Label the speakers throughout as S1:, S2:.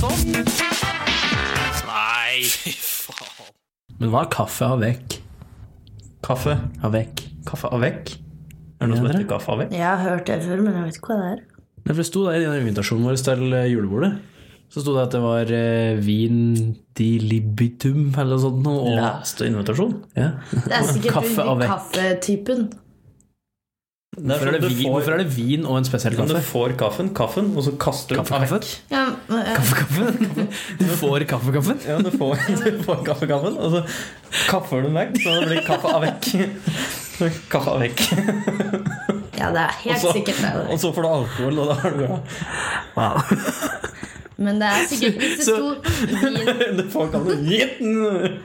S1: sånn?
S2: Men hva er kaffe avec?
S1: Kaffe.
S2: Avec.
S1: Kaffe avec. Er det noe som
S2: Ja, dere.
S1: heter kaffe avec?
S3: Jeg har hørt det før, men jeg vet ikke hva det er.
S2: Men for det sto der i den invitasjonen vår til eh, julebordet. Så sto det at det var eh, vin di libitum eller noe sånt. noe, Og,
S1: Leste invitasjon.
S2: ja.
S3: Det er sikkert
S2: Kaffe avec.
S3: kaffetypen.
S2: hvorfor,
S1: sånn
S2: er det vin, hvorfor er det vin og en spesiell
S1: Men Sånn du
S2: kaffe?
S1: får kaffen, kaffen, og så kaster du
S2: Kaffekaffen?
S3: Ja, men, eh,
S2: Kaffekaffen? Du får kaffekaffen?
S1: Ja, du får, du får kaffekaffen, og så kaffer du den vekk, så det blir kaffe avec. Kaffe avec.
S3: ja, det er helt
S1: Og så-
S3: sikkert det.
S1: Og så får du alkohol, og da er du glad.
S3: Men det er sikkert hvis det
S2: Så-
S3: sto vin
S1: Du får kaffen Jitten!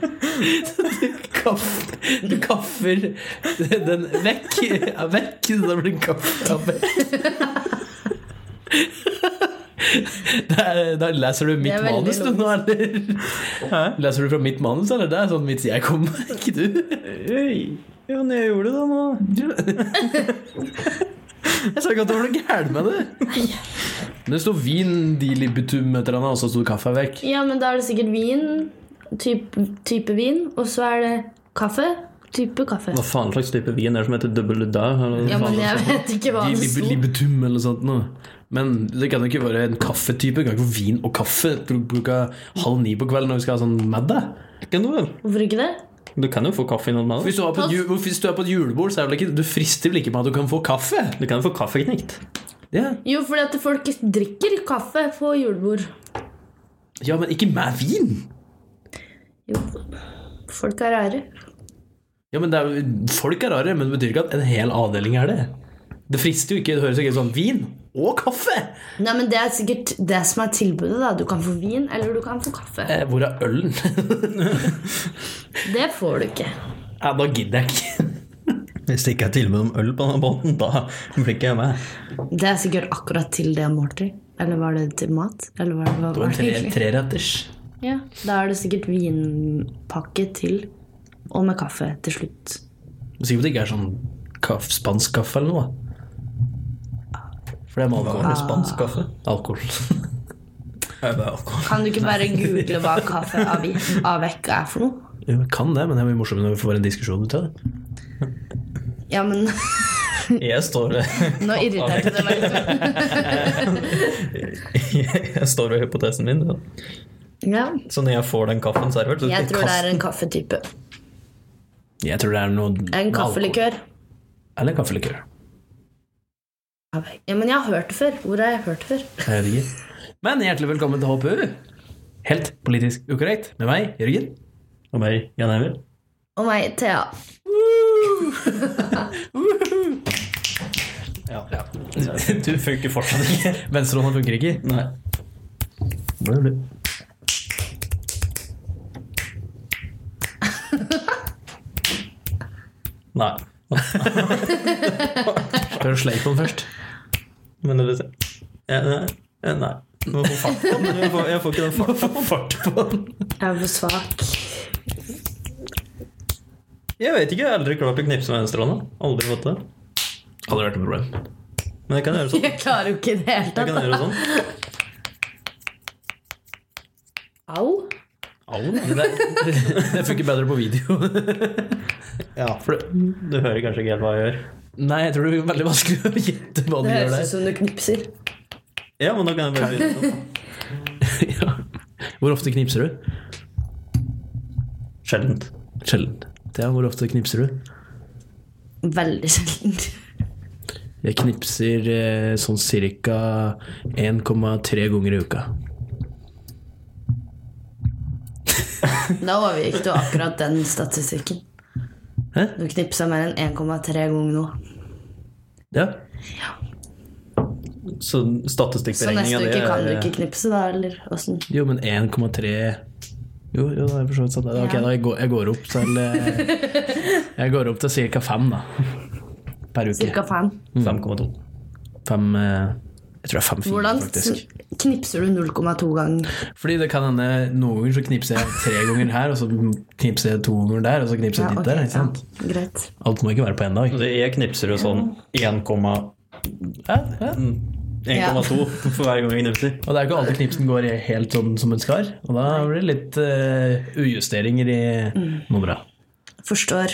S2: Kaff, du kaffer den vekk. Ja, vekk, så da blir det kaffekaffe. Da, da leser du mitt
S3: Det er veldig
S2: manus, du nå, eller?
S1: Hæ?
S2: Leser du fra mitt manus, eller? Det er sånn vits jeg kom med, ikke du?
S1: Oi. Ja, men jeg gjorde det da nå.
S2: Jeg sa ikke at det var noe gærent med det. Men det sto vin dilibitum et eller annet, og så sto det kaffe vekk.
S3: Ja, men da er det sikkert vin, type, type vin, og så er det kaffe, type kaffe.
S1: Hva faen slags type vin er det som heter double da? eller
S3: Ja,
S1: faen
S3: men
S1: det
S3: jeg
S1: er?
S3: vet ikke hva det
S2: Dilib-
S3: sto.
S2: Libitum eller sånt noe. Men det kan jo ikke være en kaffetype. Det kan ikke være vin og kaffe Bru- bruka halv ni på kvelden når vi skal ha sånn middag.
S1: Kan du vel?
S3: Hvorfor ikke det?
S1: Du kan jo få kaffe innom meg.
S2: Hvis du, er på et, ju- hvis du er på et julebord, så er det vel ikke, du frister vel ikke med at du kan få kaffe?
S1: Du kan jo få kaffeknekt.
S2: Ja,
S3: Jo, fordi at folk drikker kaffe på julebord.
S2: ja men ikke med vin!
S3: Jo, folk er rare.
S2: Ja, men det er, jo- Folk er rare, men det betyr ikke at en hel avdeling er det. Det frister jo ikke. Det høres jo ikke ut som vin og kaffe!
S3: Nei, men det er sikkert det som er tilbudet, da. Du kan få vin, eller du kan få kaffe.
S2: Eh, hvor er ølen?
S3: Det får du ikke.
S2: ja, da gidder jeg ikke.
S1: Hvis det ikke er tilbud om øl på denne båten, da blir ikke jeg med.
S3: Det er sikkert akkurat til det måltid. Eller var det til mat? Eller var det, hva
S2: Det var
S3: var
S2: en
S3: det
S2: tre-
S3: egentlig?
S2: treretters.
S3: Ja, da er det sikkert vinpakke til, og med kaffe til slutt.
S2: Sikkert det ikke er sånn kaff, spansk kaffe eller noe. da. For det er med alkohol.
S1: Spansk kaffe.
S2: alkohol.
S1: Er det alkohol?
S3: Kan du ikke bare google hva kaffe avi- avvekk er for noe?
S2: Jo, jeg kan det, men det er mye morsommere når vi får en diskusjon ut av det.
S3: Ja, men
S1: Jeg står,
S3: nå irriterte det meg litt.
S1: jeg står ved hypotesen min. da.
S3: Ja,
S1: Så når jeg får den kaffen servert så
S3: jeg tror det er
S1: kaster-
S3: en kaffetype.
S2: Jeg tror det er noe
S3: En
S2: med alkohol.
S3: kaffelikør.
S2: Eller kaffelikør.
S3: Avvekk. Ja, men jeg har hørt det før. Hvor har jeg hørt det før?
S2: Jeg vet ikke. Men hjertelig velkommen til HPU. Helt politisk ukorrekt med meg, Jørgen.
S1: Og meg, Jan Emil.
S3: Og meg, Thea.
S1: Ja. Du funker fortsatt ikke.
S2: Venstrehånda funker ikke.
S1: Nei.
S2: Hvor er du?
S1: Nei.
S2: Prøv å sleike på den først.
S1: Men det ser ja, Nei. Ja, nei. Nå får fart på den. Jeg får, jeg får ikke den farten.
S2: Få fart på den.
S3: Jeg er for svak.
S1: Jeg vet ikke, jeg har aldri klart å knipse med venstrehånda. Aldri fått det.
S2: Aldri vært noe problem.
S1: Men jeg kan gjøre sånn.
S3: Jeg klarer jo ikke det i det hele
S1: Jeg kan
S3: tatt.
S1: gjøre sånn.
S3: Au.
S1: Au, men det,
S2: Det funker bedre på video.
S1: ja, for du, du hører kanskje ikke helt hva jeg gjør.
S2: Nei, jeg tror det blir veldig vanskelig å gjette hva du
S3: Det
S2: gjør
S3: høres ut
S2: der.
S3: som du knipser.
S1: Ja, men da kan jeg bare begynne sånn.
S2: Ja. Hvor ofte knipser du?
S1: Sjeldent.
S2: Sjelden. Thea, hvor ofte knipser du?
S3: Veldig sjelden.
S2: Jeg knipser eh, sånn cirka 1,3 ganger i uka.
S3: Da overgikk du akkurat den statistikken.
S2: Hæ?
S3: Du knipsa mer enn 1,3 ganger nå.
S2: Ja.
S1: Så
S3: Så neste
S1: statistikkberegninga
S3: uke kan du ikke knipse, da, eller åssen?
S2: Jo, men 1,3 Jo, jo, det er for så vidt sant. det. Ok,
S3: Ja.
S2: da jeg går, jeg går opp til eh, Jeg går opp til cirka fem, da. Per uke.
S3: Cirka fem.
S1: 5,2.
S2: Fem eh, Jeg tror det er fem fire,
S3: Hvordan
S2: faktisk.
S3: s- knipser du 0,2 ganger?
S2: Fordi det kan hende noen ganger så knipser jeg tre ganger her, og så knipser jeg to ganger der, og så knipser jeg
S3: Ja,
S2: litt
S3: ok,
S2: der. Ikke sant?
S3: ja, greit.
S2: Alt må ikke være på én dag.
S1: Jeg knipser jo sånn 1,1
S2: Ja, ja.
S1: 1,2 for hver gang jeg knipser.
S2: Og det er jo ikke alltid knipsen går helt sånn som en skar. Og da blir det litt eh, ujusteringer i numra.
S3: Forstår.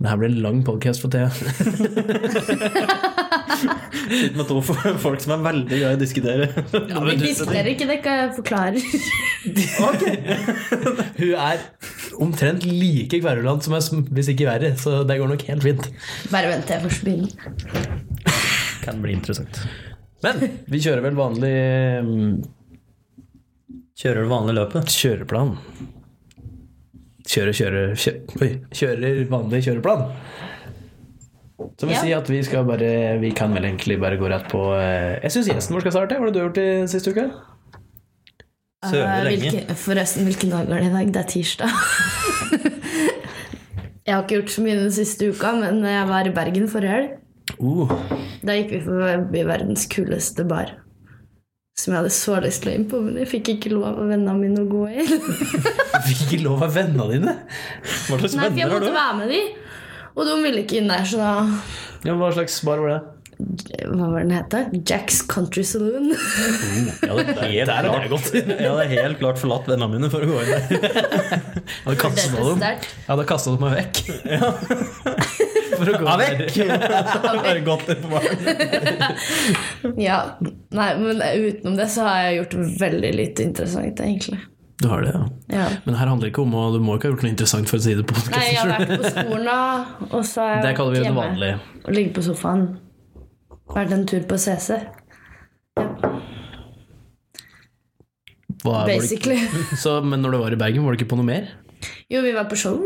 S2: Det her blir en lang podcast for Thea.
S1: Sitter med to folk som er veldig glad i å diskutere.
S2: Ja,
S3: Vi diskuterer ikke, det kan jeg forklare.
S2: Hun er omtrent like kverulant som jeg, som- hvis ikke verre, så det går nok helt fint.
S3: Bare vent til jeg først begynner.
S1: Kan bli interessant.
S2: Men vi kjører vel vanlig mm,
S1: Kjører du vanlig løpet?
S2: kjøreplan. Kjøre, kjøre, kjø- Oi. Kjører vanlig kjøreplan. Som vil
S3: Ja.
S2: si at vi skal bare Vi kan vel egentlig bare gå rett på eh, Jeg syns gjesten vår skal starte. Hva har du gjort i siste uke?
S1: Søler
S3: Eh,
S1: lenge.
S3: hvilke, forresten, hvilken dag er det i dag? Det er tirsdag. jeg har ikke gjort så mye den siste uka, men jeg var i Bergen forrige helg.
S2: Uh,
S3: Da gikk vi forbi verdens kuleste bar. Som jeg hadde så lyst til å inn på, men jeg fikk ikke lov av vennene mine å gå inn.
S2: fikk ikke lov av vennene dine!
S1: Hva slags
S3: Nei, for jeg
S1: venner har
S3: måtte
S1: du?
S3: være med de, og de ville ikke inn der, så da
S2: Ja, hva slags bar var det?
S3: Hva var den hete? Jacks Country Saloon.
S1: Ja, det er helt klart. Jeg hadde helt klart forlatt vennene mine for å gå inn der.
S2: Jeg hadde kastet
S3: Dette er
S2: dem.
S3: sterkt.
S2: Jeg hadde kastet dem vekk. For å gå der.
S1: Bare gått inn på baren.
S3: Ja. Nei, men utenom det så har jeg gjort veldig lite interessant, egentlig.
S2: Du har det, ja.
S3: Ja.
S2: Men her handler det ikke om å Du må ikke ha gjort noe interessant for å si det på
S3: Nei, jeg har
S2: podkasten.
S3: vært på skolen, da. Og så har jeg
S2: Det
S3: vært
S2: kaller vi jo det
S3: hjemme
S2: vanlige.
S3: Og ligget på sofaen. Vært en tur på CC,
S2: Hva er- var det-
S3: basically.
S2: Så, men når du var i Bergen, var du ikke på noe mer?
S3: Jo, vi var på show.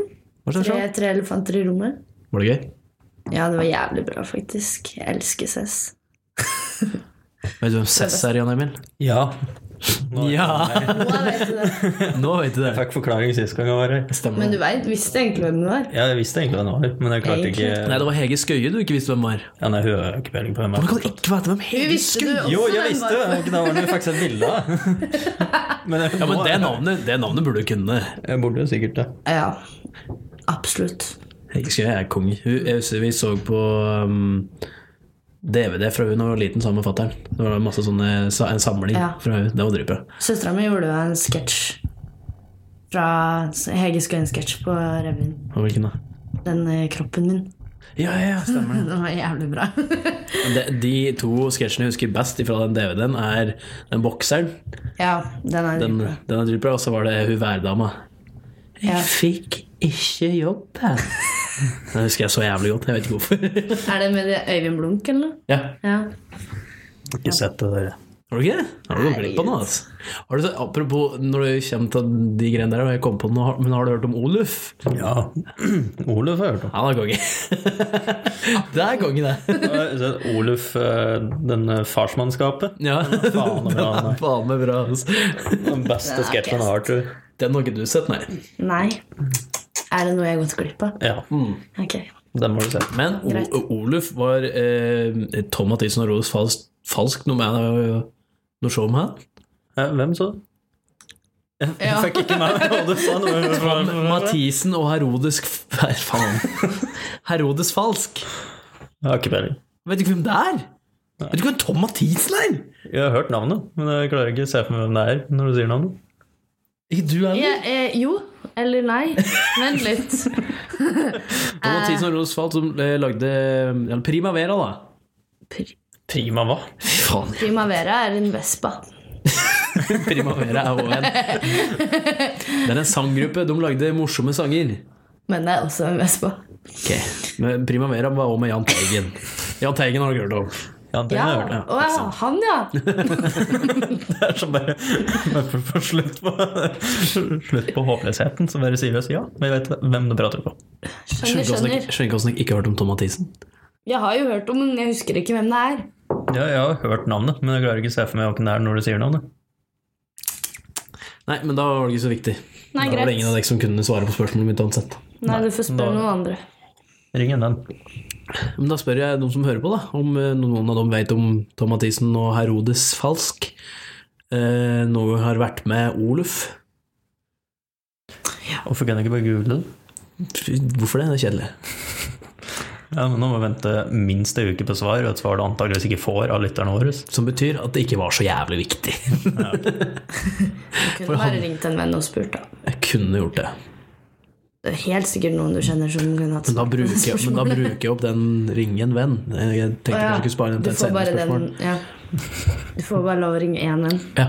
S2: Hva slags
S3: Tre,
S2: show?
S3: tre elefanter i rommet.
S2: Var det gøy?
S3: Ja, det var jævlig bra, faktisk. Jeg elsker CES.
S2: Vet du hvem Cess er, Jan Emil?
S1: Ja.
S2: Ja!
S3: Nå vet du det.
S2: Nå vet du
S1: Jeg
S2: det.
S1: fikk forklaring sist gang jeg var her.
S2: Stemmer
S3: Men du
S2: det.
S3: vet, visste egentlig hvem du var.
S1: Ja, jeg visste egentlig hvem det var, men jeg klarte ikke
S2: Nei, det var Hege Skøye du ikke visste hvem var.
S1: Ja, nei, hun har ikke peiling på hvem
S2: Du
S1: jeg
S2: kan ikke vite hvem
S3: Du
S2: Hege
S3: visste du
S2: Skøye
S3: også
S1: Jo, jeg
S3: hvem
S1: visste
S3: var.
S1: det! Det var ikke da var det faktisk et bilde av. Men jeg,
S2: Ja, men det navnet, det navnet burde du kunne.
S1: jeg burde jo sikkert det.
S3: Ja. Absolutt.
S2: Hege Skøye er kong. Hun, jeg husker vi så på um, DVD fra hun da hun var liten sammen med fatter'n. Det var masse sånne, sa- en samling
S3: Ja.
S2: fra hun. Det var dritbra.
S3: Søstera mi gjorde jo en sketsj fra Hege Skøyen-sketsj på revyen.
S2: Og Hvilken da?
S3: Den eh, kroppen min.
S2: Ja, ja, ja, stemmer.
S3: Den var jævlig bra.
S2: De, de to sketsjene jeg husker best fra den DVD-en, er den bokseren.
S3: ja, den er
S2: Den, den er dritbra. Og så var det hun værdama.
S3: Ja.
S2: fikk ikke jobb. Den husker jeg så jævlig godt. Jeg vet ikke hvorfor.
S3: Er det med det Øyvind Blunk, eller noe?
S2: Ja.
S3: Ja.
S1: Ikke sett det der.
S2: Har du ikke det? Har du gått glipp av noe? Altså? Har du, så- apropos når du kommer til de greiene der, og jeg kom på noe, har- men har du hørt om Oluf?
S1: Ja. Oluf har jeg hørt om.
S2: Han er konge. det er konge, det.
S1: Oluf, eh, den eh, farsmannskapet.
S2: Ja.
S1: Faen, det er bra,
S2: Den er
S1: nei.
S2: faen meg bra. Altså.
S1: Den beste
S3: Den er
S1: sketsjen
S3: best.
S1: jeg har, tror jeg.
S2: Den har ikke du sett, nei.
S3: Nei. Er det noe jeg har gått glipp av?
S1: Ja,
S3: Ok.
S1: den må du se.
S2: Men
S3: Greit.
S2: o Oluf var eh, Tom Mathisen og Rolf Falsk, falsk noe med noe show med han?
S1: Eh, Hvem så?
S3: Ja.
S1: Jeg fikk ikke med meg hva du sa. nå.
S2: Mathisen og Herodes f- Nei, faen. Herodes Falsk.
S1: Jeg har ikke peiling.
S2: Vet du ikke hvem det er? Vet du ikke hvem Tom Mathisen er?
S1: Jeg har hørt navnet, men jeg klarer ikke å se for meg hvem det er når du sier navnet.
S2: Ikke du heller?
S3: Ja, eh, jo. Eller nei. Vent litt.
S2: Tom Mathisen og Herodes Falsk som eh, lagde eller Primavera, da.
S3: Pri-
S1: Prima hva?
S2: Fy faen.
S3: Primavera er en vespa.
S2: Primavera er også en Det er en sanggruppe. De lagde morsomme sanger.
S3: Men det er også en vespa.
S2: Ok, Men Primavera var også med Jahn Teigen. Jahn Teigen har du hørt om.
S1: Ja, den
S3: Ja.
S1: har jeg hørt.
S3: Å ja, han, ja.
S1: Det er så bare, bare for, for slutt på Slutt på håpløsheten, så bare sier vi oss ja. Men jeg vet hvem du prater på.
S3: Skjønner,
S2: Skjønner hvordan jeg
S3: skjønner.
S2: ikke- skjønner ikke hvordan jeg ikke har hørt om Tom Mathisen.
S3: Jeg har jo hørt om den, jeg husker ikke hvem det er.
S1: Ja, jeg har hørt navnet, men jeg klarer ikke å se for meg hvem det er når du sier navnet.
S2: Nei, men da var det ikke så viktig.
S3: Nei,
S2: da var det
S3: greit.
S2: ingen av dere som kunne svare på spørsmålet mitt uansett.
S3: Nei, du får spørre
S1: da-
S3: noen andre.
S1: Ring en den.
S2: Men da spør jeg de som hører på, da, om eh, noen av dem vet om Tom Mathisen og Herodes Falsk eh, noen gang har vært med Oluf.
S1: Hvorfor kan jeg ikke bare google det?
S2: Fy, Hvorfor det? Det er kjedelig.
S1: Ja, men nå må vi vente minst ei uke på svar, og et svar du antageligvis ikke får av lytterne våre.
S2: Som betyr at det ikke var så jævlig viktig.
S3: Du kunne bare ringt en venn og spurt, da.
S2: Jeg kunne gjort det.
S3: Det er helt sikkert noen du kjenner som kunne hatt
S2: Men da bruker, jeg- men da bruker jeg opp den ring en venn. Jeg tenkte kanskje
S3: Å ja,
S2: jeg skulle spare den
S3: du
S2: til et
S3: får
S2: senere
S3: bare den-
S2: spørsmål.
S3: Ja. Du får bare lov å ringe én venn.
S2: Ja,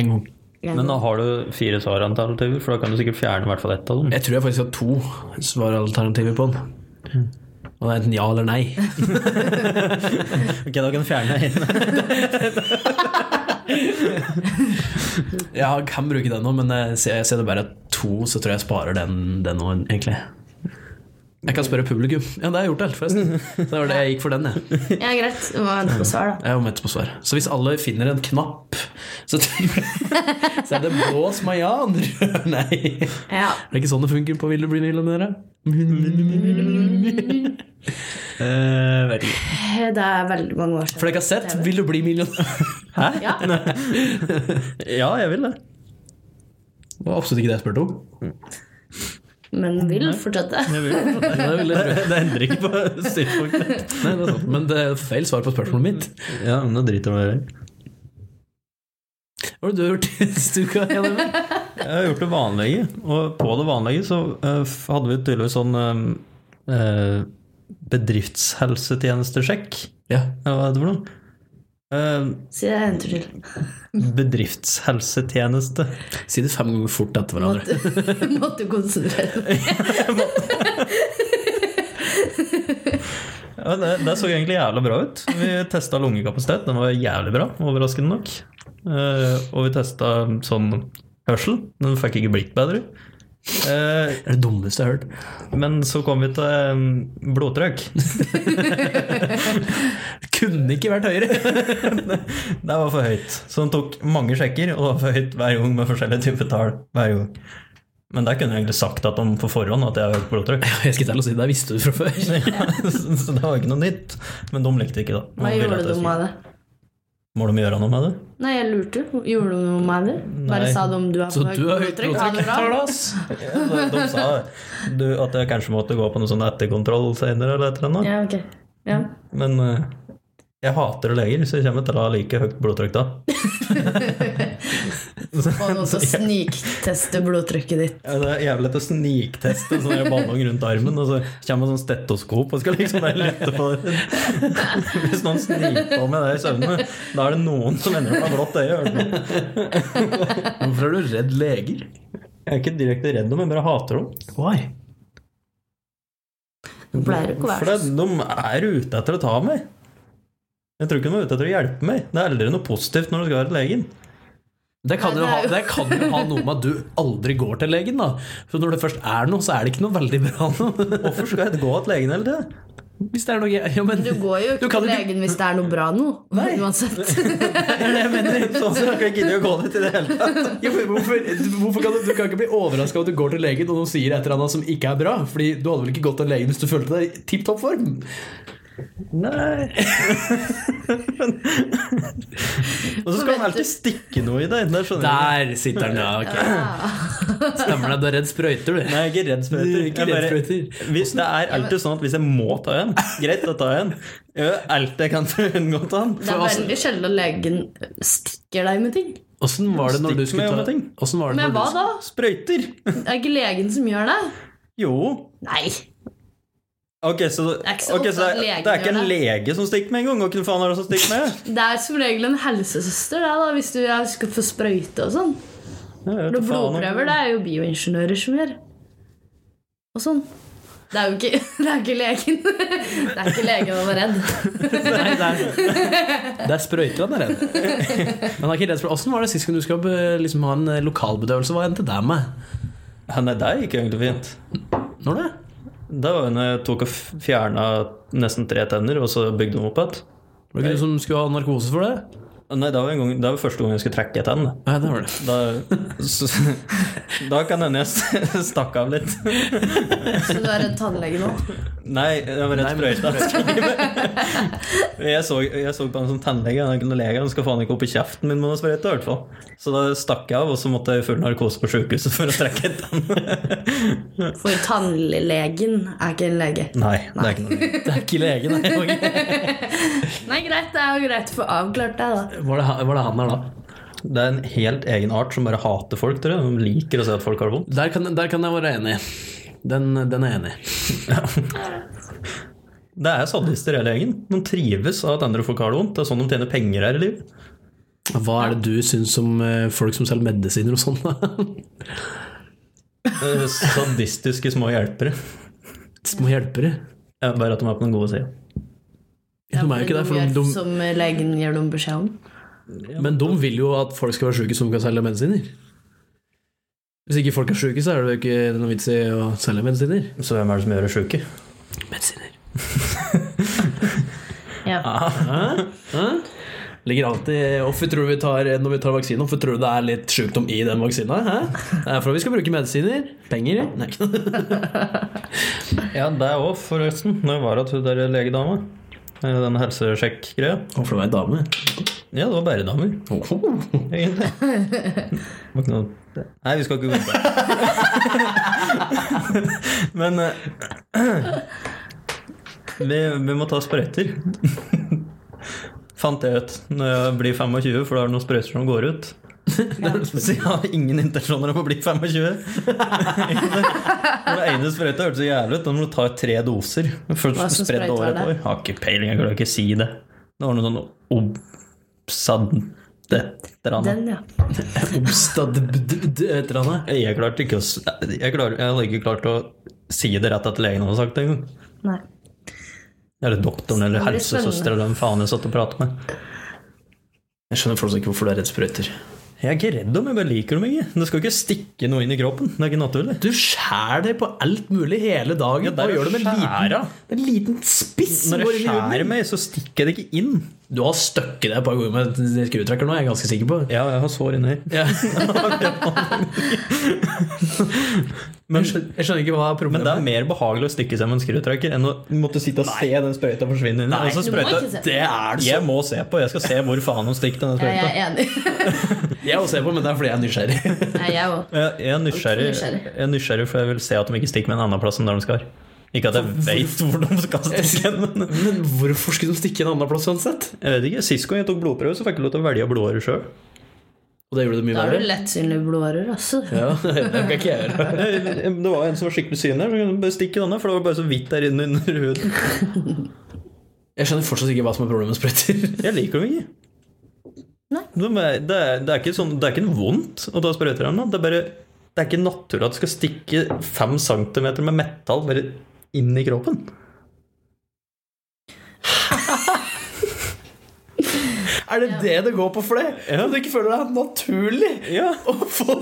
S2: en gang.
S3: En
S1: Men
S3: venn.
S1: da har du fire svaralternativer, for da kan du sikkert fjerne i hvert fall ett av dem.
S2: Jeg tror jeg faktisk har to svaralternativer på den.
S3: Mm.
S2: Og det er enten ja eller nei.
S1: Ok, da kan du fjerne en.
S2: Jeg kan bruke den nå, men jeg ser, jeg ser det bare er to, så tror jeg jeg sparer den, den nå, egentlig. Jeg kan spørre publikum. Ja, det har jeg gjort helt, forresten. Det var det jeg gikk for den, jeg.
S3: Ja, greit. Du må vente på svar, da.
S2: Jeg er jo mett på svar. Så hvis alle finner en knapp, så, så er det blå som er ja, andre rød nei. Det
S3: Ja.
S2: er ikke sånn det funker på Vil du bli millionær?
S1: Eh, vet ikke.
S3: Det er veldig mange år
S2: For
S3: siden.
S2: dere har sett Vil du bli millionær?
S3: Ja.
S1: Ja, jeg vil det.
S2: Det var absolutt ikke det jeg spurte om.
S3: Men vil fortsette.
S1: Jeg vil det.
S2: Det er veldig rød.
S1: det endrer ikke på synspunktet.
S2: Nei, det er sant. Men det er feil svar på spørsmålet mitt.
S1: Ja, men nå driter du i det.
S2: Hva har du gjort sist uke? Henrik?
S1: Jeg har gjort det vanlige, og på det vanlige så eh, f- hadde vi tydeligvis sånn eh, eh, bedriftshelsetjenestesjekk.
S2: Ja.
S1: Ja, Hva er det for noe? Eh,
S3: Si det en tur til.
S1: bedriftshelsetjeneste.
S2: Si det fem ganger fort etter hverandre.
S3: Måtte, måtte konsentrere deg.
S1: Ja, det, det så egentlig jævla bra ut. Vi testa lungekapasitet, den var jævlig bra, overraskende nok. Eh, og vi testa sånn hørsel, den fikk ikke blitt bedre. Eh,
S2: Det er det dummeste jeg har hørt.
S1: men så kom vi til eh, blodtrykk.
S2: Kunne ikke vært høyere.
S1: Det var for høyt. Så den tok mange sjekker, og det var for høyt hver gang med forskjellige typer tall. hver gang. Men der kunne jeg egentlig sagt at om på forhånd at jeg har høyt blodtrykk.
S2: Jeg skal til å si det visste du fra før.
S1: så det var ikke noe nytt. Men de likte ikke, da.
S3: Hva
S1: De ville
S3: gjorde
S1: at jeg
S3: du
S1: skulle-
S3: med det?
S1: Må de gjøre noe med det?
S3: Nei, jeg lurte. jo. Gjorde du noe med det? Bare
S1: Nei.
S3: sa de om du har
S2: Så
S3: høyt
S2: du har høyt
S3: blodtrykk? Ha det
S2: blodtrykk.
S3: bra.
S2: Tar det, ass.
S1: Ja, de, de sa du, at jeg kanskje måtte gå på noe sånn etterkontroll senere, eller et eller annet.
S3: Ja, ok. Ja.
S1: Men eh, jeg hater leger, så jeg kommer til å ha like høyt blodtrykk da.
S3: Få noen til å snikteste blodtrykket ditt.
S1: Ja, det er jævlig lett å snikteste en sånn der ballong rundt armen, og så kommer det sånn stetoskop og skal liksom bare lette på det. Hvis noen sniker på med det i søvne, da er det noen som ender opp med blått øye. hører du.
S2: Hvorfor er du redd leger?
S1: Jeg er ikke direkte redd dem, jeg bare hater dem.
S2: Why?
S3: Du pleier jo ikke å
S1: For
S3: være sånn?
S1: det, de er ute etter å ta meg. Jeg tror ikke de er ute etter å hjelpe meg. Det er aldri noe positivt når du skal være til legen.
S2: Det kan,
S3: Nei,
S2: jo
S3: det
S2: ha,
S3: er jo-
S2: det kan jo ha noe med at du aldri går til legen, da. For når det først er noe, så er det ikke noe veldig bra nå.
S1: Hvorfor skal jeg gå til legen hele tida?
S2: Hvis det er noe ja, men,
S3: Du går jo
S2: Du
S3: ikke
S2: kan
S3: til
S2: jo
S3: legen hvis det er noe bra nå.
S2: Nei.
S3: Uansett.
S1: Sånn så kan jeg gidde å gå dit i det hele tatt.
S2: Ja, men hvorfor, hvorfor kan du, du kan ikke bli overraska over at du går til legen og de sier et eller annet som ikke er bra. Fordi du hadde vel ikke gått til legen hvis du følte deg i tipp topp form?
S1: Nei. Og så skal han alltid stikke noe i deg. Det skjønner jeg ikke.
S2: Der sitter den, ja. ok Stemmer det. Du er redd sprøyter, du.
S1: Nei, jeg er ikke redd
S2: Du
S1: sprøyter.
S2: er ikke
S1: Jeg
S2: redd
S1: bare-
S2: sprøyter.
S1: Hvis det er alltid sånn at hvis jeg må ta en, greit, da tar jeg en. Jeg gjør alt jeg kan for å unngå å ta en.
S3: Det er
S2: altså-
S3: veldig sjelden legen stikker deg med ting.
S2: Åssen var det når du
S1: Stikk meg
S2: skulle ta
S1: om ting.
S2: Åssen var det
S3: Men
S2: når
S3: hva
S2: du
S3: da?
S1: Sprøyter!
S3: Det er ikke legen som gjør det.
S1: Jo.
S3: Nei.
S1: Ok, så,
S3: er ikke så
S1: ok,
S3: ofte
S1: så
S3: at
S1: det,
S3: legen
S1: det er ikke
S3: gjør
S1: en lege som stikker meg engang? Og hvem faen er det som stikker meg?
S3: Det er som regel en helsesøster det, da, hvis du jeg skal få sprøyte og sånn.
S1: Jeg vet da faen
S3: For
S1: om-
S3: blodprøver det er jo bioingeniører som gjør. Og sånn. Det er jo ikke, det er ikke legen. Det er ikke legen han var redd.
S2: Nei, det er, det er sprøyter han er redd. Han er ikke redd for Åssen var det sist gang du skal be- liksom, ha en eh, lokalbedøvelse? Hva endte det med?
S1: Ja, Nei, det gikk egentlig fint.
S2: Når det?
S1: Det var jo når jeg tok og f- fjerna nesten tre tenner, og så bygde dem opp igjen.
S2: Var det ikke du som skulle ha narkose for det?
S1: Nei, det var, en gang, det var første gang jeg skulle trekke et tenn.
S2: Ja, det var det.
S1: Da, så, da kan hende jeg s- stakk av litt.
S3: Så du er en tannlege nå?
S1: Nei, det var rett
S2: Nei, men-
S1: sprøyta. Jeg så, jeg så på han som tannlege, han kunne lege, han skal faen ikke opp i kjeften min med noen sprøyte, i hvert fall. Så da stakk jeg av, og så måtte jeg i full narkose på sjukehuset for å trekke et tann.
S3: For tannlegen er ikke en lege.
S1: Nei, det er ikke noe.
S2: Det er ikke legen, det.
S3: Nei, greit, det er jo greit å få avklart det, da.
S2: Var det, han- var det han her, da?
S1: Det er en helt egen art som bare hater folk, tror jeg. De liker å se at folk har det vondt.
S2: Der kan, der kan jeg være enig. Den, den er jeg enig. i.
S1: Det er sadister hele gjengen. De trives av at andre folk har det vondt. Det er sånn de tjener penger her i livet.
S2: Hva er det du syns om eh, folk som selger medisiner og sånn? da?
S1: Eh, Sadistiske små hjelpere.
S2: Små hjelpere?
S1: Ja, Bare at de er på den gode sida.
S2: Ja, de er jo ikke det, for de,
S3: gjør
S2: de,
S3: Som legen gir dem beskjed om.
S2: men de vil jo at folk skal være syke som kan selge medisiner. Hvis ikke folk er syke, så er det jo ikke noe vits i å selge medisiner.
S1: Så hvem er det som gjør det sjuke?
S2: Medisiner.
S3: Ja.
S2: Ah, Hæ? Hæ? Ligger alltid Hvorfor tror du vi tar når vi tar vaksine? Hvorfor tror du det er litt sjukdom i den vaksina? Hæ? Det er for at vi skal bruke medisiner. Penger? Nei.
S1: Ja, det òg, forresten. Når jeg var hos hun der legedama. eh, Den helsesjekk-greia.
S2: Hvorfor var jeg dame?
S1: Ja, det var bare damer, egentlig. Det var ikke noe Nei, vi skal ikke gå inn på det. Men eh, vi, vi må ta sprøyter. Fant jeg ut når jeg blir 25, for da er det noen sprøyter som går ut. Så jeg har ingen intensjoner om å bli 25. Den ene sprøyta hørtes så jævlig ut. Da må du ta tre doser.
S3: Hva
S1: Først
S3: slags
S1: spredt
S3: sprøyte
S1: over
S3: var
S1: et
S3: det?
S1: år. Har ikke peiling, jeg klarer ikke å si det. Det var noe sånn obsadde
S3: Den, ja.
S2: Obstad... Et eller annet.
S1: Jeg klarte ikke å s- jeg, klarer, jeg hadde ikke klart å si det rett etter legen hadde sagt det engang.
S3: Nei.
S1: Eller doktoren eller
S3: Det blir spennende.
S1: helsesøster eller hvem faen jeg satt og pratet med.
S2: Jeg skjønner fortsatt ikke hvorfor du er redd sprøyter.
S1: Jeg er ikke redd dem, jeg bare liker dem ikke. Det skal ikke stikke noe inn i kroppen. Det er ikke naturlig.
S2: Du skjærer deg på alt mulig hele dagen.
S1: Ja, det er
S2: og
S1: jo
S2: gjør det med en liten,
S1: skjæra.
S2: en liten spiss. som
S1: Når
S2: går
S1: jeg
S2: inn i huden
S1: skjærer
S2: din.
S1: meg, så stikker det ikke inn.
S2: Du har støkket deg et par ganger med en skrutrekker nå, jeg er ganske sikker på.
S1: Ja, jeg har sår inni her.
S2: Ja. jeg, skjønner, jeg skjønner ikke hva
S1: Men det
S2: problemet
S1: er mer behagelig å stikke seg med en skrutrekker enn å måtte sitte og se den sprøyta forsvinne inn. Altså,
S3: du må
S1: sprøyta,
S3: ikke se på.
S1: det er det Jeg må se på. Jeg skal se hvor faen de stikker den
S3: Jeg
S1: sprøyta.
S3: er enig.
S2: er. Jeg også ser på, men det er fordi jeg er nysgjerrig.
S3: Nei, jeg òg.
S1: Jeg jeg er nysgjerrig,
S3: Altfor nysgjerrig.
S1: jeg er nysgjerrig, for jeg vil se at de ikke stikker med en annen plass enn der de skal. Ikke at jeg veit hvor de skal stikke den. men-
S2: Men hvorfor skulle de stikke en annen plass uansett?
S1: Jeg vet ikke, Sist gang jeg tok blodprøve, så fikk jeg lov til å velge blodåre sjøl.
S2: Og det gjorde det mye
S3: Da har du
S2: verre.
S3: lettsynlige blodårer, altså.
S2: Ja, det kan ikke jeg gjøre.
S1: Det var en som var skikkelig synlig her, så kunne jeg bare stikke denne, for det var bare så vidt der inne under huden.
S2: Jeg skjønner fortsatt ikke hva som er problemet med sprøyter.
S1: Jeg liker dem ikke.
S3: Nei.
S1: De er, det, er, det, er ikke sånn, det er ikke noe vondt å ta sprøyter ennå. Det er bare Det er ikke naturlig at du skal stikke fem centimeter med metall bare inn i kroppen.
S2: Er det det det går på for deg?
S1: Ja.
S2: At du ikke føler det er naturlig
S1: Ja,
S2: å få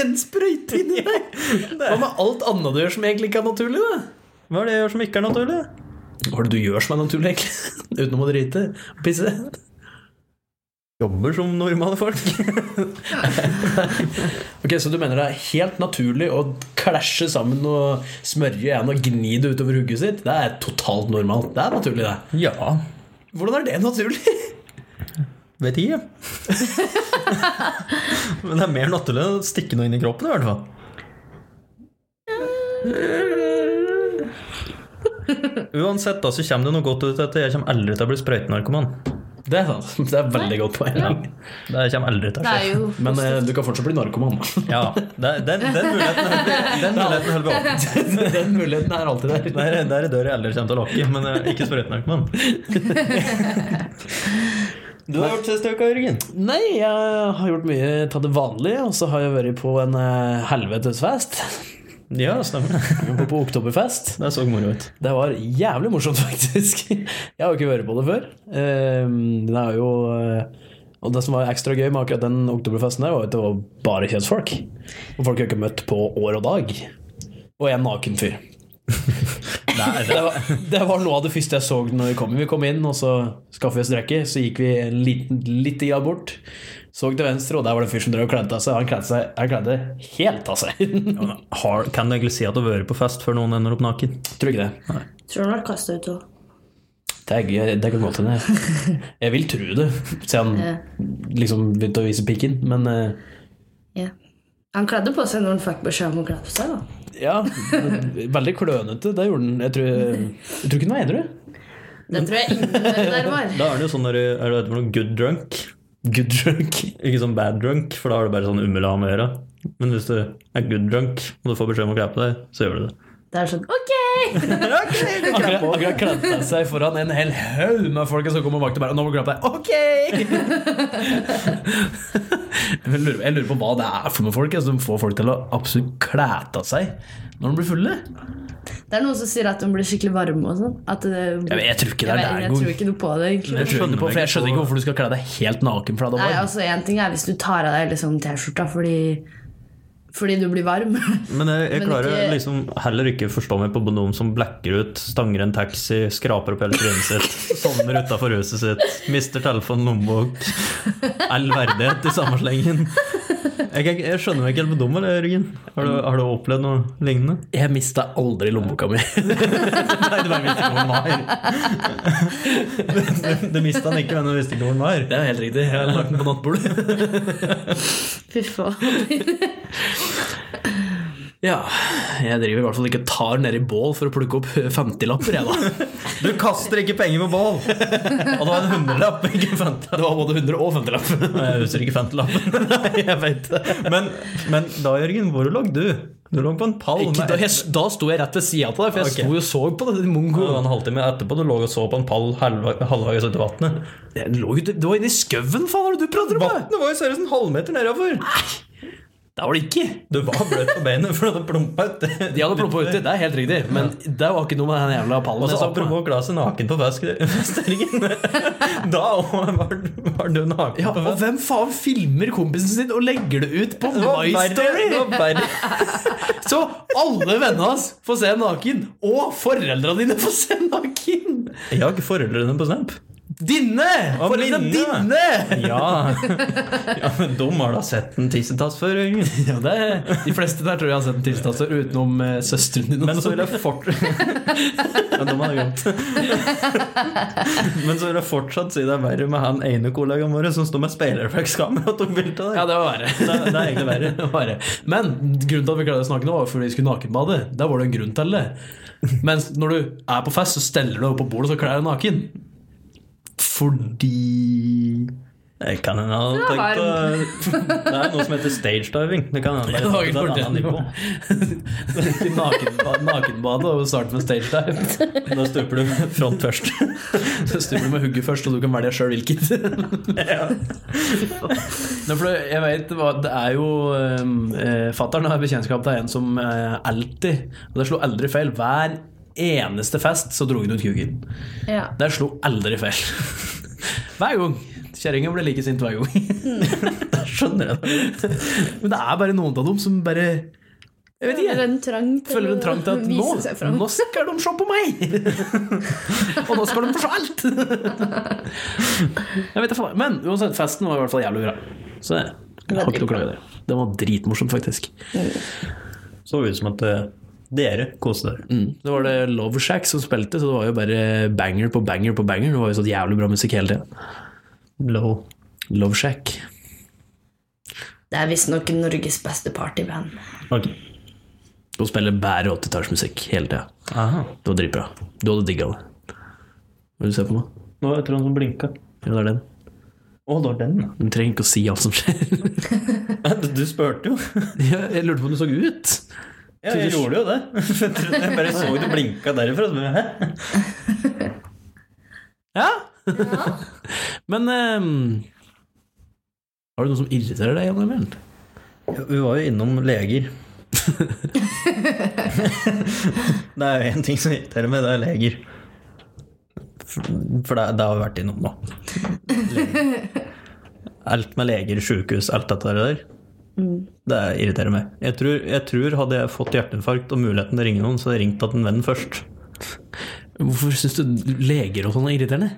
S2: en sprøyte inn i deg? Hva med alt annet du gjør som egentlig ikke er naturlig? da?
S1: Hva er det jeg gjør som ikke er naturlig?
S2: Hva er det du gjør som er naturlig, egentlig? Utenom å drite? Pisse?
S1: Jobber som normale folk.
S2: Ok, Så du mener det er helt naturlig å klæsje sammen og smørje en og gni det utover hugget sitt? Det er totalt normalt. Det er naturlig, det.
S1: Ja,
S2: Hvordan er det naturlig?
S1: Vet ikke. Men det er mer naturlig å stikke noe inn i kroppen, i hvert fall. Uansett da, så kommer det noe godt ut av dette. Jeg kommer aldri til å bli sprøytenarkoman.
S2: Det er sant. Det er et veldig godt poeng.
S1: Det kommer aldri til å
S3: Det
S1: skje.
S3: er jo
S2: Men eh, du kan fortsatt bli narkoman. da.
S1: Ja, det, den, den muligheten den muligheten holder vi åpen.
S2: Den muligheten er alltid der.
S1: Det er det er en dør jeg aldri kommer til å lukke, men jeg er ikke sprøytenarkoman. Du har gjort siste uka, Jørgen.
S2: Nei, jeg har gjort mye tatt det vanlige, og så har jeg vært på en eh, helvetesfest.
S1: Ja, stemmer det.
S2: Jeg var På oktoberfest.
S1: Det så moro ut.
S2: Det var jævlig morsomt, faktisk. Jeg har jo ikke vært på det før. Eh, Det er jo eh, Og det som var ekstra gøy med akkurat den oktoberfesten der, var at det var bare kjønnsfolk. Og folk jeg ikke har møtt på år og dag. Og en naken fyr.
S1: Det det
S2: Det
S1: er,
S2: var, det var noe av det første jeg så når vi kom inn. Vi kom inn, og så skaffet vi oss drikke. Så gikk vi en liten, litt i av bort. Så til venstre, og der var det en fyr som drev og kledde av seg. Han kledde seg han kledde helt av seg.
S1: har, kan du egentlig si at du har vært på fest før noen ender opp naken?
S2: Tror ikke det.
S3: Tror han ble kasta ut òg.
S2: Det, er, gøy, det kan godt hende. Jeg vil tro det, siden
S3: Ja.
S2: han liksom begynte å vise pikken. Men eh,
S3: Ja. Han kledde på seg når han fikk beskjed om å kle på seg. da.
S2: ja, veldig klønete. Det gjorde han. Jeg tror, jeg tror ikke han var edru.
S3: Det tror jeg ingen der var.
S1: Da er det jo sånn der, er det for noe good drunk,
S2: Good drunk.
S1: ikke sånn bad drunk, for da har du bare sånn umulig å ha med å gjøre. Men hvis du er good drunk, og du får beskjed om å kle på deg, så gjør du det.
S3: Det er sånn OK!
S2: Akkurat, akkurat kledde han seg foran en hel haug med folk som kommer bak til meg. Og nå må du klappe deg. Ok! jeg, lurer, jeg lurer på hva det er for med folk altså, som får folk til å absolutt klæte av seg når de blir fulle.
S3: Det er noen som sier at de blir skikkelig varme og sånn. At det,
S2: Jeg, jeg tror ikke det
S3: jeg,
S2: er
S3: vet-
S2: der
S3: jeg tror ikke noe på det, egentlig.
S2: Jeg skjønner, på, for jeg skjønner ikke hvorfor du skal kle deg helt naken. For det
S3: Nei,
S2: er varmt.
S3: altså En ting er hvis du tar av deg liksom T-skjorta fordi, fordi du blir varm.
S1: Men jeg, jeg
S3: Men
S1: klarer
S3: ikke-
S1: liksom heller ikke forstå meg på noen som blacker ut, stanger en taxi, skraper opp hele trynet sitt, sovner utafor huset sitt, mister telefon, lommebok. All verdighet i samme slengen. Jeg, jeg, jeg skjønner meg ikke helt på dem, eller, Jørgen? Har du, har du opplevd noe lignende?
S2: Jeg mista aldri lommeboka mi.
S1: Nei, du bare visste ikke hvor den var. Du, du mista den ikke, men du visste ikke hvor den var.
S2: Det er helt riktig. Jeg har lagt den på nattbordet.
S3: Fy faen.
S2: Ja, jeg driver i hvert fall ikke og tar nedi bål for å plukke opp 50-lapper, jeg, da.
S1: Du kaster ikke penger på bål! Og det var en hundrelapp, ikke en femtilapp.
S2: Det var både 100 og 50-lapp.
S1: Jeg husker ikke femtilappen. jeg vet det. Men, men da, Jørgen, hvor lå du? Du lå på en pall.
S2: Ikke,
S1: med
S2: da,
S1: et-
S2: jeg, da sto jeg rett ved sida av deg, for jeg
S1: Ok.
S2: sto jo og så på det mongo.
S1: Det var en halvtime etterpå du lå og så på en pall halv- halvveis ut i vannet.
S2: Det lå jo det var inni skauen, faen, hva er det du prater om?
S1: Vannet var jo seriøst en halvmeter nedover.
S2: Det var det ikke.
S1: Du var bløt på beinet for du hadde plumpa uti.
S2: De hadde plumpa uti, det er helt riktig, men det var ikke noe med den jævla pallen.
S1: Og så
S2: jeg så på.
S1: apropos å kle seg naken på fest, Jørgen. Da òg var, var du naken
S2: ja,
S1: på
S2: og
S1: fest.
S2: hvem faen filmer kompisen sin og legger det ut på
S1: Det var
S2: My
S1: verre,
S2: Story?
S1: det var verre.
S2: Så alle vennene hans får se naken, og foreldra dine får se naken!
S1: Jeg har ikke foreldrene på Snap.
S2: Dine!
S1: Og
S2: Foreldra
S1: mine.
S2: dine!
S1: Ja, ja men de har da sett en tissetass før, Jørgen.
S2: Ja, det, de fleste der tror jeg har sett en tilstander utenom eh, søsteren din.
S1: Men så
S2: også.
S1: vil jeg fort... Men dem hadde jeg glemt. Men så vil jeg fortsatt si det er verre med han ene kollegaen vår som står med speilreflekskamera og tok bilde
S2: Ja,
S1: av deg.
S2: det var verre.
S1: Det, det er egentlig verre.
S2: Det var det. Men grunnen til at vi kledde oss nakne, var fordi vi skulle nakenbade. Der var det en grunn til det. Mens når du er på fest, så steller du opp på bordet, så kler du deg naken. Fordi
S1: Jeg kan hende han
S3: Det er
S1: tenkte Det er noe som heter stage diving. Det kan hende
S2: Det var
S1: bare
S2: ikke
S1: det er en annen nivå.
S2: fortjent. Nakenba- Nakenbade og starte med stage dive.
S1: Da stuper du front først.
S2: Så stuper du med hugget først, og du kan velge sjøl hvilket.
S1: Ja.
S2: Nei, for det- jeg vet, det var- det er jo eh, Fatteren har bekjentskap til en som eh, alltid Og det slo aldri feil. Hver eneste fest så dro hun ut kuken.
S3: Ja.
S2: Det slo aldri feil. Hver gang. Kjerringa ble like sint hver gang.
S1: Skjønner jeg det.
S2: Men det er bare noen av dem som bare Jeg vet
S3: Føler
S2: ikke.
S3: en trang til,
S2: Føler en trang til at
S3: å vise seg
S2: nå,
S3: fram.
S2: nå skal de se på meg! Og nå skal de få se alt! Jeg vet da faen. Men uansett, festen var i hvert fall jævlig bra. Så jeg har ikke noe å klage der. Den var dritmorsom, faktisk.
S1: Så ut som at eh, dere koser dere.
S3: Mm.
S2: Det var det Love Shack som spilte, så det var jo bare banger på banger på banger. Det var jo så jævlig bra musikk hele tida.
S1: Low.
S2: Love Shack.
S3: Det er visstnok Norges beste partyband.
S1: Ok.
S2: De spiller bare 80-tallsmusikk hele tida.
S1: Aha.
S2: Det var dritbra. Du hadde digga det. Hva er det du ser på nå?
S1: Nå var det Trond som blinka.
S2: Ja, det er den.
S1: Å, det var den, ja.
S2: Du trenger ikke å si alt som skjer.
S1: Du spurte jo.
S2: Ja, jeg lurte på om du så ut.
S1: Ja, jeg gjorde jo det. Jeg trodde- jeg bare så du blinka derifra. Så bare, hæ?
S2: Ja! Men ehm, Har du noe som irriterer deg, Jan Emil?
S1: Vi var jo innom leger. det er jo én ting som irriterer meg, det er leger. For for det, det har vi vært innom nå. Leger. Alt med leger, sjukehus, alt dette der. Det irriterer meg. Jeg tror, jeg tror hadde jeg fått hjerteinfarkt og muligheten til å ringe noen, så hadde jeg ringt til en venn først.
S2: Hvorfor syns du leger og sånn er irriterende?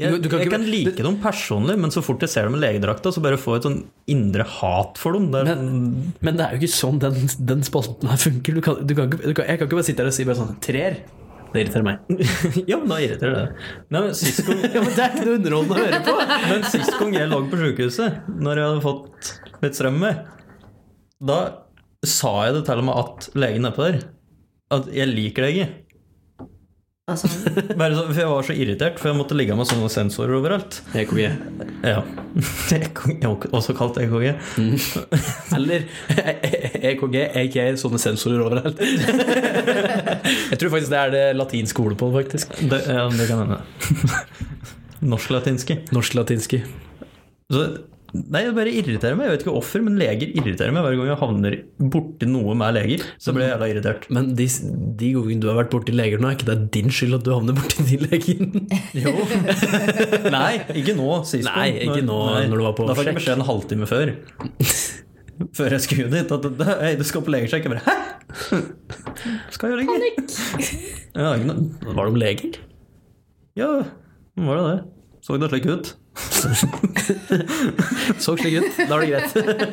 S1: Jeg,
S2: Du- du kan
S1: jeg
S2: ikke-
S1: kan like dem personlig, men så fort jeg ser dem i legedrakta, så bare får jeg et sånn indre hat for dem. Det er sånn-
S2: Men det er jo ikke sånn den, den spalten her funker. Du kan, du kan ikke, du kan, jeg kan ikke bare sitte her og si bare sånn Treer. Det irriterer meg.
S1: ja, men da irriterer det. Nei, men sist gang,
S2: Ja, men Det er ikke noe underholdende å høre på!
S1: men sist gang jeg lå på sjukehuset, når jeg hadde fått litt strøm med, da sa jeg det til og med at legen nedpå der at jeg liker deg ikke.
S3: Altså,
S1: Bare så, for jeg var så irritert, for jeg måtte ligge med sånne sensorer overalt.
S2: EKG.
S1: Ja. E EKG, Også kalt E EKG.
S2: Eller E EKG, aka sånne sensorer overalt. Jeg tror faktisk det er det latinske ordet på, faktisk.
S1: Det, ja, det kan hende. Norsk-latinske.
S2: Norsk-latinske.
S1: Så, nei, det bare irriterer meg. Jeg vet ikke hvorfor, men leger irriterer meg hver gang jeg havner borti noe med leger. Så blir jeg jævla irritert.
S2: Men de, de gangene du har vært borti leger nå, er ikke det din skyld at du havner borti de legene?
S1: Jo. nei, ikke nå. Sist gang.
S2: Nei, ikke nå, når du var på
S1: Da fikk
S2: sjekk.
S1: jeg beskjed en halvtime før. Før jeg skulle dit. At det- hei, du skal på legesjekk. Jeg bare hæ? Skal jeg gjøre det ikke? Ja, ikke noe-
S2: Var de leger?
S1: ja, var det det? Så det slik ut?
S2: Så slik ut. Da er det greit.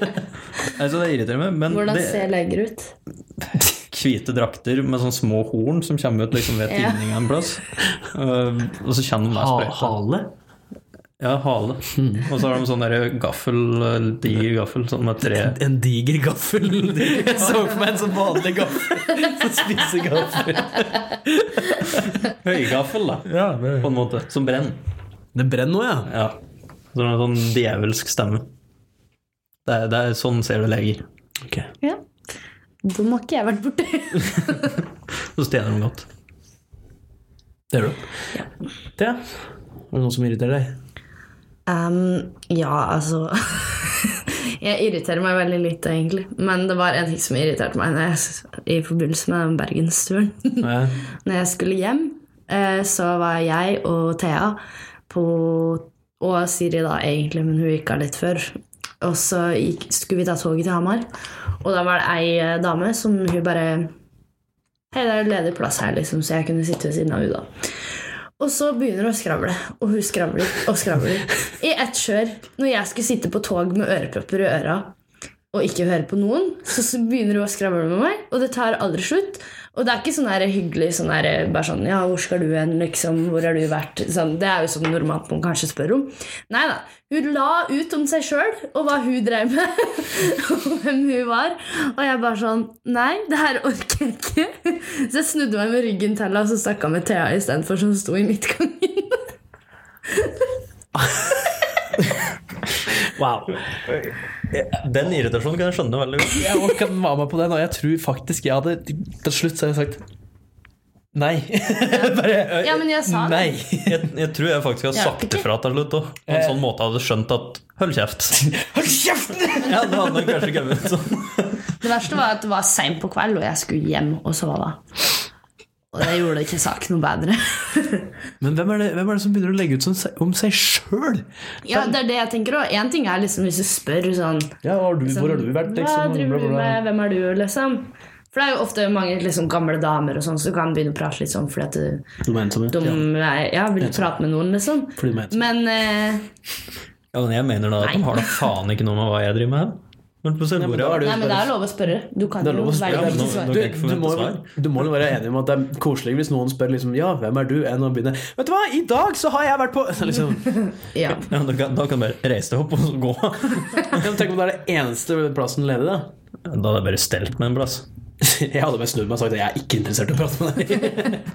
S1: Altså, det irriterer meg, men
S3: hvordan
S1: det,
S3: ser leger ut?
S1: hvite drakter med sånne små horn som kommer ut liksom ved
S3: Ja.
S1: tinninga en plass. Uh, og så kjenner de meg
S2: Ah.
S1: sprøyta.
S2: hale?
S1: Ja, hale. Og så har de sånn der gaffel, uh, diger gaffel sånn med tre
S2: En diger gaffel. Jeg så for meg en sånn vanlig gaffel. Sånn spisegaffel.
S1: Høygaffel, da,
S2: Ja,
S1: på en måte. Som brenn.
S2: det brenner nå, ja.
S1: Ja. Så det er en sånn djevelsk stemme. Det er, det er sånn ser du leger.
S2: Ok.
S3: Ja. Dem har ikke jeg vært borti.
S1: Så stjeler de godt.
S2: Det gjør du. Thea, er det noen som irriterer deg?
S3: Um, ja, altså Jeg irriterer meg veldig lite, egentlig. Men det var en ting som irriterte meg når jeg, i forbindelse med den bergensturen.
S2: Ja.
S3: Når jeg skulle hjem, eh, så var jeg og Thea på Og Siri, da, egentlig, men hun gikk av litt før. Og så gikk, skulle vi ta toget til Hamar, og da var det ei eh, dame som hun bare Hei, det er ledig plass her, liksom, så jeg kunne sitte ved siden av hun da. Og så begynner hun å skravle, og hun skravler og skravler. I ett kjør, når jeg skulle sitte på tog med ørepropper i øra og ikke høre på noen, så så begynner hun å skravle med meg, og det tar aldri slutt. Og det er ikke sånn her hyggelig sånn her, bare sånn Ja, hvor skal du hen? Liksom, hvor har du vært? Sånn, det er jo sånn normalt man kanskje spør om. Nei da. Hun la ut om seg sjøl og hva hun drev med, og hvem hun var. Og jeg bare sånn Nei, det her orker jeg ikke. Så jeg snudde meg med ryggen til henne og så snakka med Thea istedenfor, som sto i midtgangen.
S2: Wow.
S1: Den irritasjonen kan jeg skjønne veldig godt.
S2: Jeg også kan være med på den, og jeg tror faktisk jeg hadde Til slutt så hadde jeg sagt nei. Bare
S3: Ja, men jeg sa det.
S2: nei.
S1: Jeg, jeg tror jeg faktisk har
S3: Hjelper
S1: sagt
S3: ikke.
S1: ifra til slutt òg. På en
S2: Eh.
S1: sånn måte hadde skjønt at hold kjeft.
S2: Hold kjeften!
S1: Ja, det hadde kanskje kommet sånn.
S3: Det verste var at det var seint på kveld, og jeg skulle hjem og sove. Og det gjorde ikke saken noe bedre.
S2: Men hvem er, det, hvem er det som begynner å legge ut sånn se- om seg sjøl?
S3: Ja, det er det jeg tenker også. En ting er liksom hvis du spør sånn
S2: Ja, hvor har du, hvor har du vært,
S3: Hva
S2: liksom?
S3: driver du med? Hvem er du? Liksom. For det er jo ofte mange liksom, gamle damer og sånn, så du kan begynne å prate litt sånn fordi at du-
S2: De er ensomme.
S3: de er- ja, vil prate med noen, liksom.
S2: Fordi de er ensomme.
S3: Men eh,
S1: Ja, men jeg mener da at de
S3: Nei.
S1: har da faen ikke noe med hva jeg driver med her. Men plutselig
S2: men
S1: bor
S2: da er
S1: jeg
S2: det
S3: Nei, men det er lov å spørre. Du kan
S2: Det er
S3: jo
S2: lov å
S3: velge
S2: spørre.
S3: ikke å
S1: nå-
S3: svare.
S1: nå-
S2: Du,
S1: ikke
S2: du,
S1: forvente
S2: må,
S1: svar.
S2: du må jo være enig om at det er koselig hvis noen spør liksom, ja, hvem er du, enn å begynne Vet du hva, i dag så har jeg vært på Så liksom,
S3: Ja.
S1: ja, da, kan, da kan du bare reise deg opp og så gå.
S2: Tenk om det er det eneste plassen ledig, da.
S1: Da hadde jeg bare stelt med en plass.
S2: Jeg hadde bare snudd meg og sagt at jeg er ikke interessert i å prate med deg.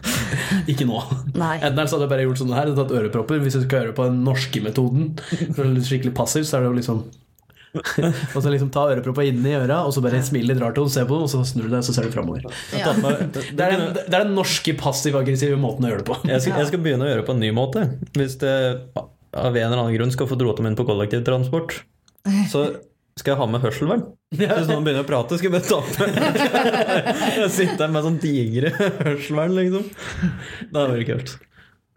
S2: ikke nå.
S3: Nei.
S2: Enten eller så hadde jeg bare gjort sånn her, tatt ørepropper. Hvis du skal høre på den norske metoden, for å være litt skikkelig passiv, så er det jo liksom Og så liksom ta øreproppa inni øra, og så bare smile litt rart til dem, se på dem, og så snur du deg, så ser du framover.
S1: Jeg,
S3: Ja.
S1: tatt meg- det,
S2: Det er den, det er den norske passiv-aggressive måten å gjøre det på.
S1: jeg, skal, jeg skal begynne å gjøre det på en ny måte. Hvis det av en eller annen grunn skal få drota min på kollektivtransport, så skal jeg ha med hørselvern. Hvis noen begynner å prate, skal jeg bare ta på Jeg sitter her med sånn digre hørselvern, liksom. Det hadde vært kult.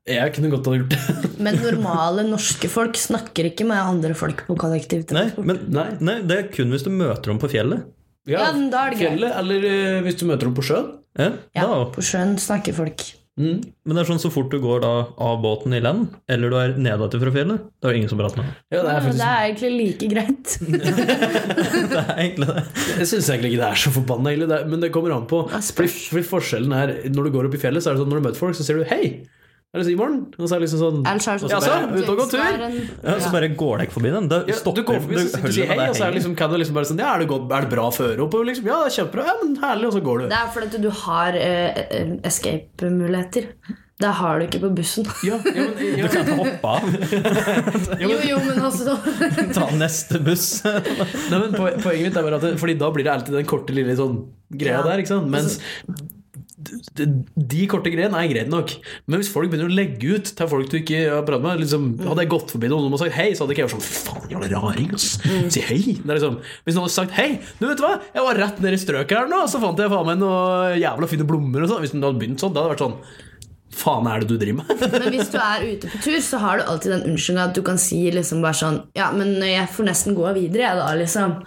S2: Jeg kunne godt ha gjort det.
S3: Men normale norske folk snakker ikke med andre folk på kollektivt.
S1: Nei, men,
S2: Nei.
S1: nei, det er kun hvis du møter dem på fjellet.
S3: Ja, men da er det greit.
S2: Fjellet, eller eh, hvis du møter dem på sjøen.
S1: Ja,
S3: Ja,
S1: da.
S3: på sjøen snakker folk.
S2: Mm.
S1: Men det er sånn så fort du går da av båten i land, eller du er nedetter fra fjellet, da er det ingen som prater med deg.
S2: Ja, det
S3: Ja,
S2: er
S3: men det
S2: faktisk,
S3: er egentlig like greit.
S1: Det er egentlig det.
S2: jeg syns egentlig ikke det er så forbanna ille, det er- men det kommer an på.
S3: Ja, spørs.
S2: Fordi, fordi forskjellen er Når du går opp i fjellet, så er det sånn når du møter folk, så sier du 'hei'. Er det så i morgen? Og så er det liksom sånn
S3: Ellers er det
S2: Ja, så, ut og gå tur.
S3: Det er en-
S1: Ja, så bare går deg ikke forbi den. Da
S2: ja,
S1: stopper sånn
S2: du går forbi, så sitter du og sier
S1: holder med
S2: hei,
S1: deg
S2: og så er det
S1: hengen.
S2: liksom, kan du liksom bare sånn Ja, er det, godt, er det bra føre opp? Og liksom, ja, det er kjempebra. Ja, men herlig. Og så går du.
S3: Det er fordi at du har eh, eh, escape-muligheter. Det har du ikke på bussen.
S2: Ja, ja, men, ja,
S1: Du kan hoppe av,
S3: Jo, jo, men altså
S1: ta neste buss.
S2: Nei, men po- Poenget mitt er bare at det, Fordi da blir det alltid den korte, lille sånn greia
S3: Ja.
S2: der. ikke sant? Mens de, de korte greiene er greit nok. Men hvis folk begynner å legge ut til folk du ikke har pratet med liksom, Hadde jeg gått forbi noen og noen hadde sagt hei, så hadde ikke jeg vært sånn "Fy faen, jævla raring, ass. Si hei. Det er liksom, hvis noen hadde sagt hei, du vet du hva, jeg var rett nede i strøket her nå, så fant jeg faen meg noen jævla fine blomster og sånn. Hvis noen hadde begynt sånn, da hadde det vært sånn Faen er det du driver med?
S3: Men hvis du er ute på tur, så har du alltid den unnskyldninga at du kan si liksom bare sånn Ja, men jeg får nesten gå videre, jeg, da, liksom.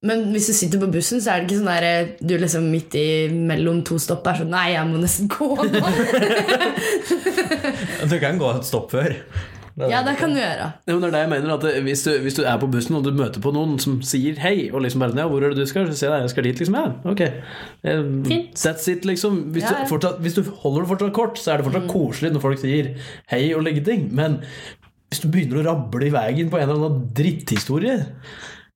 S3: Men hvis du sitter på bussen, så er det ikke sånn der eh, du liksom midt i mellom to stopp er sånn Nei, jeg må nesten gå nå.
S1: Du kan gå et stopp før.
S3: Ja, det kan du gjøre.
S2: Ja, men det er det jeg mener at eh, hvis du, hvis du er på bussen og du møter på noen som sier hei, og liksom bare ja, 'Hvor er det du skal?' Så sier jeg «Nei, 'Jeg skal dit', liksom. Ja, ok. Eh,
S3: Fint.
S2: That's it, liksom. Hvis,
S3: Ja, Mm. ja.
S2: Du fortsatt, hvis du holder det fortsatt kort, så er det fortsatt koselig når folk sier hei og legger ting, men hvis du begynner å rable i veien på en eller annen dritthistorie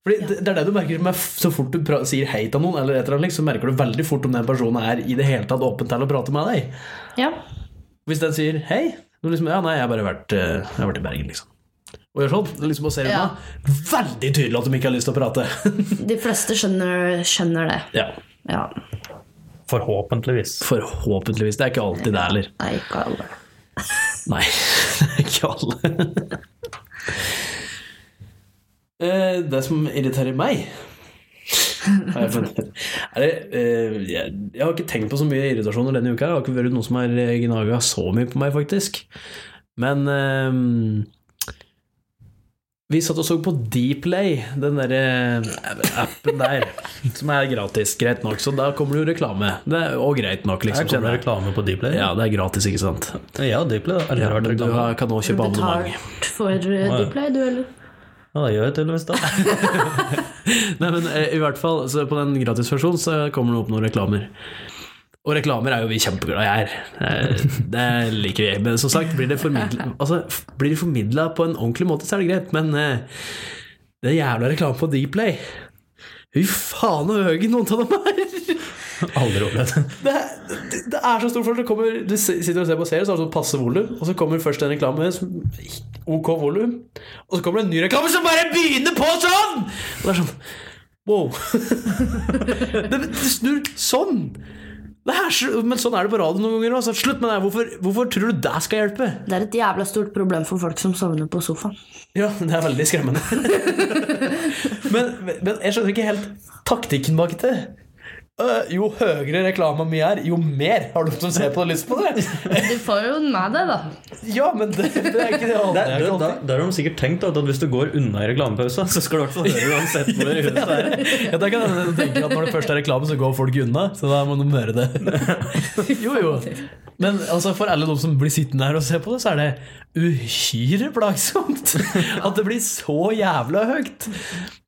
S2: fordi det- det er det du merker som er f- Så fort du pra sier hei til noen, eller et eller annet, liksom, så merker du veldig fort om den personen er i det hele tatt åpen til å prate med deg.
S3: Ja.
S2: Hvis den sier hei, så liksom, ja, nei, jeg har bare vært, eh, jeg har vært i Bergen, liksom. Og gjør sånn, det er liksom å se
S3: Ja.
S2: unna. Veldig tydelig at de ikke har lyst til å prate.
S3: De fleste skjønner, skjønner det.
S2: ja,
S3: Ja.
S1: Forhåpentligvis.
S2: forhåpentligvis. Det er ikke alltid det heller.
S3: Nei, ikke alle.
S2: Nei, det er ikke alle. Eh, Det som irriterer meg har jeg funnet- er det, eh, jeg, jeg har ikke tenkt på så mye irritasjoner denne uka. Det har ikke vært noe som har eh, gnaga så mye på meg, faktisk. Men eh, vi satt og så på Dplay, den derre appen der, som er gratis. Greit nok. Så da kommer det jo reklame. Det er, og greit nok,
S1: Her kommer
S2: liksom.
S1: det
S2: kjenner jeg.
S1: reklame på Dplay.
S2: Ja, det er gratis, ikke sant?
S1: Ja, Dplay. da. Eller
S2: Ja,
S1: har det
S2: men du
S1: reklame?
S2: har- kan også
S3: Du
S2: kjøpe abonnement.
S3: betalt for eh,
S1: ja.
S3: Dplay, du, eller?
S1: Ja, det gjør jeg tydeligvis da.
S2: Nei, men eh, i hvert fall så På den gratisversjonen så kommer det opp noen reklamer. Og reklamer er jo vi kjempeglade i her. Eh, Det liker vi. Men som sagt, blir det formidla altså, f- blir det formidlet på en ordentlig måte, så er det greit. Men eh, det er jævla reklame på Dplay Fy faen så høye noen av dem er!
S1: Aldri opplevd det.
S2: Det, det, det er så stor forskjell. Det kommer- Du s- sitter og ser på serien, så har du sånn passe volum, og så kommer først en reklame som OK volum, og så kommer det en ny reklame som bare begynner på sånn! Og det er sånn Wow. det, det snur sånn! Det er så, men sånn er det på radio noen ganger også. Slutt med det. her. Hvorfor, hvorfor tror du det skal hjelpe?
S3: Det er et jævla stort problem for folk som sovner på sofaen.
S2: Ja, det er veldig skremmende. men, men jeg skjønner ikke helt taktikken bak det. Øh, jo høyere reklama mi er, jo mer har du som ser på og lyst på det.
S3: Du får jo den med deg, da.
S2: Ja, men det, det er ikke det alle
S1: Der,
S2: er ikke
S1: da,
S2: alltid.
S1: der har de sikkert tenkt at at hvis du går unna i reklamepausen, så skal du i hvert fall høre uansett hvor det huset er.
S2: Ja, det kan jeg tenke at Når det først er reklame, så går folk unna. Så da må de høre det. Jo, jo. Men altså, for alle de som blir sittende her og se på det, så er det uhyre plagsomt. At det blir så jævla høyt.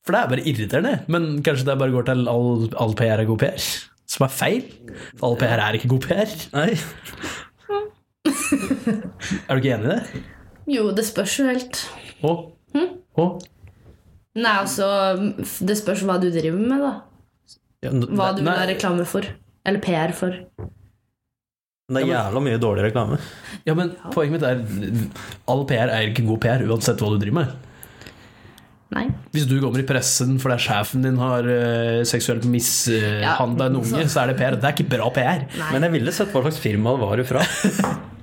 S2: For det er bare irriterende. Men kanskje det bare går til all, all PR er god PR? Som er feil. For all PR er ikke god PR.
S1: Nei.
S2: Er du ikke enig i det?
S3: Jo, det spørs jo helt.
S2: Å? Å?
S3: Nei, altså, f- Det spørs hva du driver med, da.
S1: Ja,
S3: Hva
S1: det,
S3: du vil
S2: Nei.
S3: ha reklame for. Eller PR for.
S1: det er jævla mye dårlig reklame.
S2: Ja, men poenget mitt er all PR er ikke god PR, uansett hva du driver med.
S3: Nei.
S2: Hvis du kommer i pressen fordi sjefen din har eh, seksuelt mishandla en unge, så er det PR. Det er ikke bra PR.
S3: Nei.
S1: Men jeg ville sett hva slags firma det var ifra.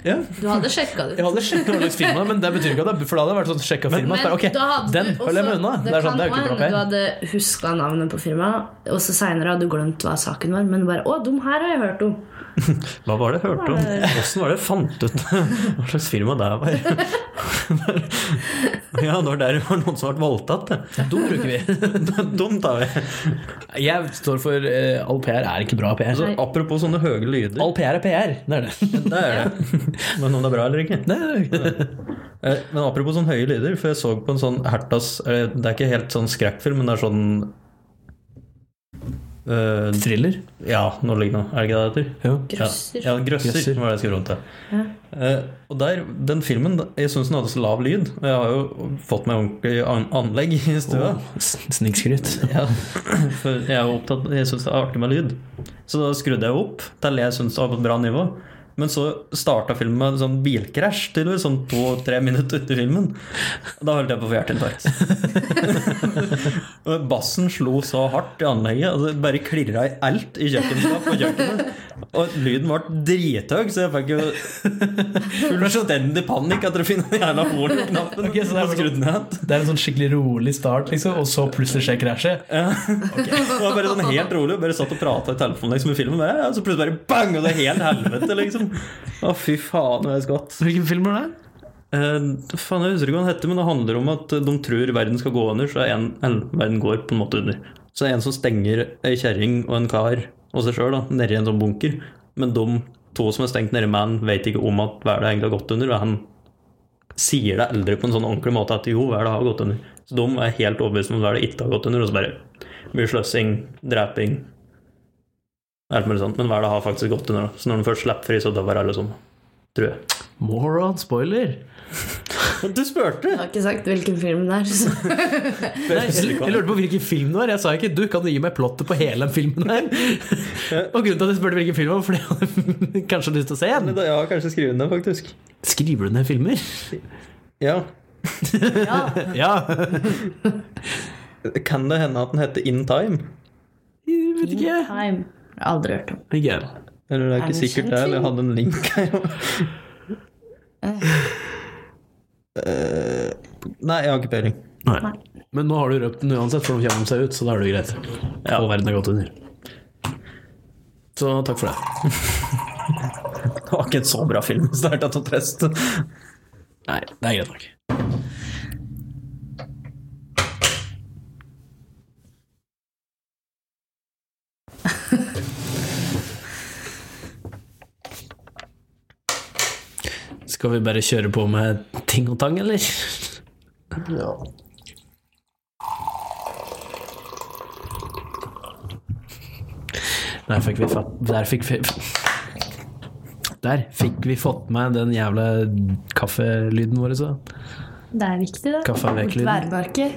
S3: Du hadde sjekka det.
S2: Jeg hadde sjekka hva slags firma, men det betyr ikke at det For da hadde det vært sånn sjekka firma. så bare, Ok,
S3: da hadde
S2: den
S3: du
S2: holder jeg meg
S3: også-
S2: unna. Det er sånn, det er jo
S3: kan
S2: ikke
S3: hende Du
S2: bra PR.
S3: hadde huska navnet på firmaet, og så seinere hadde du glemt hva saken var. Men bare 'Å, dem her har jeg hørt om'.
S1: Hva var det jeg hørte om? Åssen var det jeg fant ut hva slags firma det var? Ja, det var der det var noen som ble voldtatt. det.
S2: Dum bruker vi.
S1: Dumt er det.
S2: Jeg står for eh, all PR er ikke bra PR.
S1: Altså, apropos sånne høye lyder.
S2: All PR er PR. Det er det.
S1: Det er det. Men om det er bra eller ikke.
S2: Nei, det er ikke det.
S1: Eh, Men apropos sånn høye lyder, for jeg så på en sånn Hertas eh, Det er ikke helt sånn skrekkfilm, men det er sånn eh,
S2: Thriller.
S1: Ja, noe lignende. Er det ikke det det heter?
S2: Ja.
S3: Grøsser.
S1: Ja, ja grøsser,
S2: Grøsser.
S1: var det jeg skulle fram til. Eh, og der, den filmen, jeg syns den hadde så lav lyd. og Jeg har jo fått meg ordentlig an anlegg i stua.
S2: Oh, Snikskryt.
S1: Ja, for jeg er jo opptatt Jeg syns det er artig med lyd. Så da skrudde jeg opp til jeg syns det var på et bra nivå. Men så starta filmen med en sånn bilkrasj, tydeligvis, sånn to-tre minutter ut i filmen. Da holdt jeg på å få hjerteinfarkt. Og Bassen slo så hardt i anlegget, og det bare klirra i alt i kjøkkenskap og kjøkkenet. Og lyden ble drithøy, så jeg fikk jo fullstendig panikk etter å finne den jævla pornoknappen
S2: Ok, så det er
S1: og skrudd ned.
S2: Det er en sånn skikkelig rolig start, liksom, og så plutselig skjer krasjet.
S1: Det var bare sånn helt rolig, bare satt og prata i telefonen liksom, i filmen. Bare, og så plutselig bare bang, og det er helt helvete, liksom. Å, fy faen, det er skvatt.
S2: Hvilken film var det?
S1: Eh, faen, jeg husker ikke hva den heter, men det handler om at de tror verden skal gå under, så er en, eller, verden går på en måte under. Så det er en som stenger ei kjerring og en kar og seg sjøl nedi en sånn bunker. Men de to som er stengt nedi med han, vet ikke om at verden egentlig har gått under. Og han sier det aldri på en sånn ordentlig måte at jo, verden har gått under. Så de er helt overbevist om at verden ikke har gått under, og så bare blir sløsing, dreping Alt mulig sånt. Men verden har faktisk gått under, da. Så når de først slipper fri, så dør alle sånn. Tror jeg.
S2: Moron. Spoiler.
S1: Du spurte!
S3: Jeg har ikke sagt hvilken film det er. Så.
S2: Nei, jeg lurte på hvilken film det var. Jeg sa ikke 'du, kan du gi meg plottet på hele den filmen her'? Og grunnen til at jeg spurte hvilken film det var, fordi jeg hadde kanskje lyst til å se den.
S1: Jeg har kanskje skrevet ned, faktisk.
S2: Skriver du ned filmer?
S1: Ja.
S3: Ja,
S2: Ja.
S1: Kan det hende at den heter In Time?
S2: Jeg vet ikke.
S3: Time. Jeg har Aldri hørt om.
S2: Ikke.
S1: Eller det er
S3: Er
S1: ikke
S3: det
S1: sikkert det,
S3: kjent
S1: eller jeg
S3: film?
S1: hadde en link her. Eh, Nei, jeg har ikke peiling.
S2: Nei. Men nå har du røpt den uansett, for nå kommer de seg ut, så da er det jo greit. Og verden har gått under. Så takk for det.
S1: Det var ikke en så bra film så det er tatt å treste.
S2: Nei, det er greit nok. Skal vi bare kjøre på med ting og tang, eller? Der fikk vi fatt... Der fikk vi Der fikk vi fått med den jævla kaffelyden vår, så.
S3: Det er viktig, det.
S2: Kaffe er vekk-lyden.
S3: Værmerker.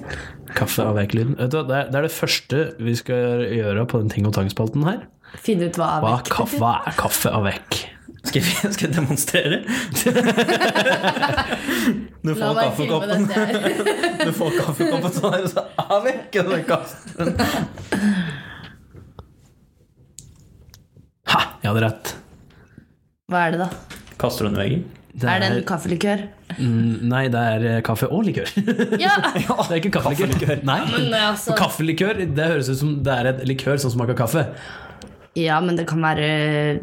S2: Kaffe og vekk-lyden. Vet du hva, Det er det er det første vi skal gjøre på den ting og tang-spalten her.
S3: Finne ut hva er
S2: Hva, er
S3: vekk.
S2: kaffe, hva er kaffe og vekk?
S1: Skal jeg, skal jeg demonstrere? Du
S3: La
S1: får
S3: meg filme
S1: kaffekoppen,
S3: dette her.
S1: du får kaffekoppen sånn her, og så er vekk! og så kaster den.
S2: Ha! Jeg hadde rett.
S3: Hva er det, da?
S1: Kaster du den i veggen?
S3: Er det en kaffelikør?
S2: mm, Nei, det er eh, kaffe og likør. Det
S3: Ja!
S2: er ikke kaffelikør. Nei.
S3: Men altså-
S2: Kaffelikør, det høres ut som det er et likør som smaker kaffe.
S3: ja, men det kan være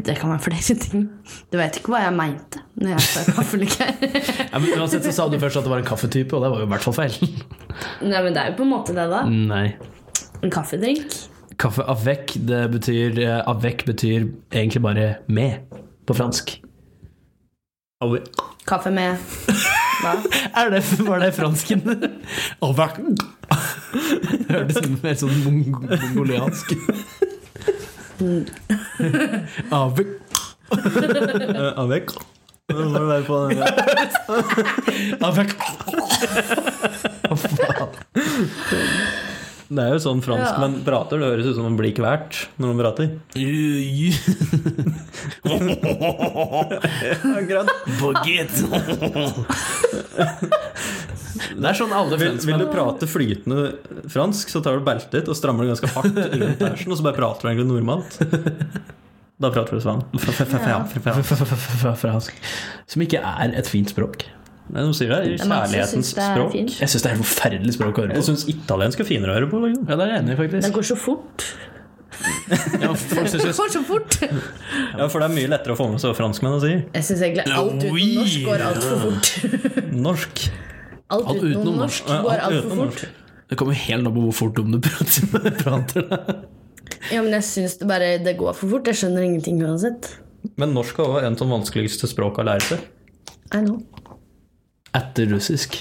S3: Det kan være flere ting. Du vet ikke hva jeg mente når jeg sa kaffelikør.
S2: Ja, men uansett så sa du først at det var en kaffetype, og det var jo i hvert fall feil.
S3: Nei, men det er jo på en måte det, da.
S2: Nei.
S3: En kaffedrink.
S2: Kaffe avec, det betyr eh, Avec betyr egentlig bare med på fransk.
S1: Au.
S3: Kaffe med hva?
S2: Er det, var det fransken? Avec. Hørtes mer sånn mong- mongoliansk Avec.
S1: Eh, er vekk. Nå må du være på den.
S2: Avec.
S1: Det er jo sånn
S3: Ja.
S1: franskmenn prater. Det høres ut som man blir kvalt når de prater.
S2: Baguette. Det er sånn alle
S1: Vil, vil
S2: franskmenn
S1: du prate flytende fransk, så tar du beltet ditt og strammer det ganske hardt rundt persen, og så bare prater du egentlig normalt. Da prater du sånn. Nei,
S2: fra fransk Som ikke er et fint språk.
S1: de sier det er
S3: Det er mange som
S1: kjærlighetens
S3: synes det er
S1: språk.
S3: fint.
S2: Jeg syns det er et forferdelig språk å høre
S1: Jeg
S2: på.
S1: syns italiensk er finere å høre på. Liksom.
S2: Ja, det er jeg enig i,
S3: Det
S2: faktisk.
S3: går så fort.
S2: Ja, folk synes
S3: Det
S2: jo
S3: går så fort!
S1: Ja, for det er mye lettere å få med seg hva franskmennene sier.
S3: Jeg syns egentlig alt
S2: Oi.
S3: utenom norsk går altfor fort.
S1: Norsk.
S3: Alt utenom norsk
S1: Ja,
S3: går
S1: alt
S3: altfor
S1: utenom
S3: fort.
S1: norsk.
S2: Det kommer helt an på hvor fort om du prater. prater da.
S3: Ja, men jeg syns det bare det går for fort. Jeg skjønner ingenting uansett.
S1: Men norsk er også en av de vanskeligste språkene å lære seg.
S3: I know.
S2: Etter russisk.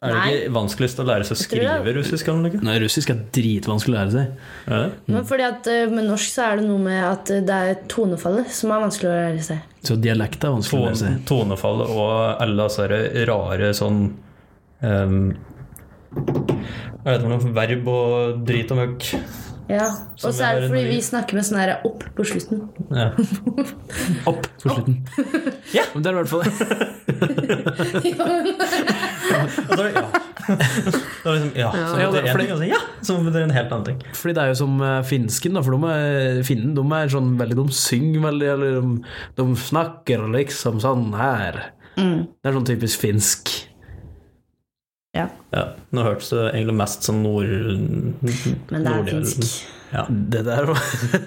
S1: Er det
S3: Nei.
S1: ikke vanskeligst å lære seg å
S3: tror det er-
S1: skrive russisk? Eller noe?
S2: Nei, russisk er dritvanskelig å lære seg.
S1: Er det?
S3: Men fordi at eh, Med norsk så er det noe med at eh, det er tonefallet som er vanskelig å lære seg.
S2: Så dialekt er vanskelig å
S1: Tone,
S2: lære seg.
S1: tonefallet og alle sånne rare sånn um, Hva heter det for noe? Verb og drit og møkk.
S3: Ja.
S1: Som
S3: Og så er
S1: jeg har
S3: det
S1: i
S3: fordi
S1: Norge.
S3: vi snakker med sånn her opp på slutten.
S1: Ja.
S2: Opp på slutten. Ja, men det er i hvert fall det.
S1: Og så er det ja. Det er liksom, ja, som
S2: Ja,
S1: betyr
S2: det-
S1: én ting, og så ja, som betyr en helt annen ting.
S2: Fordi det er jo som eh, finsken, da, for de er, finnen de er sånn veldig De synger veldig, eller de, de snakker liksom sånn her. Det er sånn typisk finsk.
S3: Ja.
S1: Ja, Nå hørtes det egentlig mest sånn nord...
S3: Men det er
S1: nordlig-
S3: finsk.
S1: Ja.
S2: Det der var,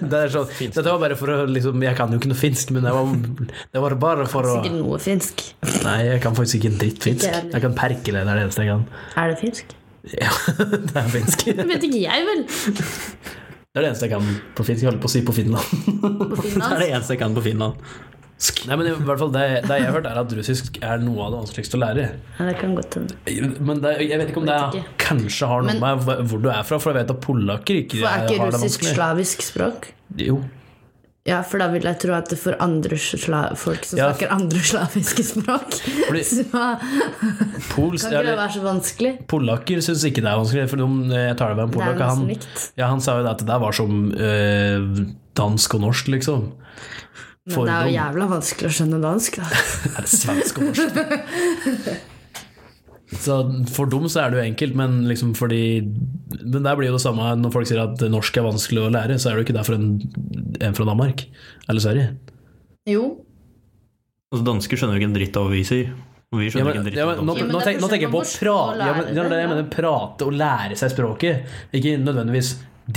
S2: det er sånn, dette var bare for å liksom Jeg kan jo ikke noe finsk, men det var, det var bare for å
S3: Sikkert noe finsk.
S2: Nei, jeg kan faktisk ikke en dritt finsk.
S3: Ikke heller.
S2: Jeg kan perkele, det er det eneste jeg kan.
S3: Er det finsk?
S2: Ja, det er finsk. Det
S3: Det vet ikke jeg, vel.
S2: er det eneste jeg kan på finsk. Jeg holder på å si på Finland.
S3: På
S1: Det er
S3: Finland.
S1: det eneste jeg kan på Finland.
S2: Nei, men i hvert fall det, det jeg har hørt, er at russisk er noe av det vanskeligste å lære.
S3: Ja, det kan godt hende.
S2: Men det, jeg vet ikke om det
S3: Vet
S2: er,
S3: ikke.
S2: kanskje har noe med hva- hvor du er fra, for jeg vet at polakker ikke
S3: For er ikke
S2: har det
S3: russisk
S2: vanskelig.
S3: slavisk språk?
S2: Jo.
S3: Ja, for da vil jeg tro at det for andre sla folk som
S2: Ja.
S3: snakker andre slaviske språk,
S2: Fordi-
S3: så kan
S2: Pols,
S3: ikke det
S2: eller,
S3: være så vanskelig.
S2: polakker syns ikke det er vanskelig, for om jeg tar det med en
S3: Det er
S2: polakk og
S3: nesten
S2: han,
S3: likt.
S2: ja, han sa jo det at det der var som eh, dansk og norsk, liksom.
S3: Men det er jo
S2: Fordom.
S3: jævla vanskelig å skjønne dansk, da.
S2: Er det svensk og norsk? Så For dem så er det jo enkelt, men liksom fordi Men der blir jo det samme når folk sier at norsk er vanskelig å lære, så er det jo ikke det for en, en fra Danmark eller Sverige.
S3: Jo.
S1: Altså, Dansker skjønner jo ikke en dritt av hva vi sier. Og vi
S2: Ja,
S1: skjønner
S2: men,
S1: ikke en dritt
S2: ja,
S1: av
S2: men,
S1: hva
S2: nå,
S1: dansker
S3: Ja, men
S2: nå,
S3: det er
S2: tenk, nå tenker jeg på å
S3: forskjell på å
S2: prate ja, men, ja,
S3: lære det,
S2: Jeg
S3: ja.
S2: mener prate og lære seg språket. Ikke nødvendigvis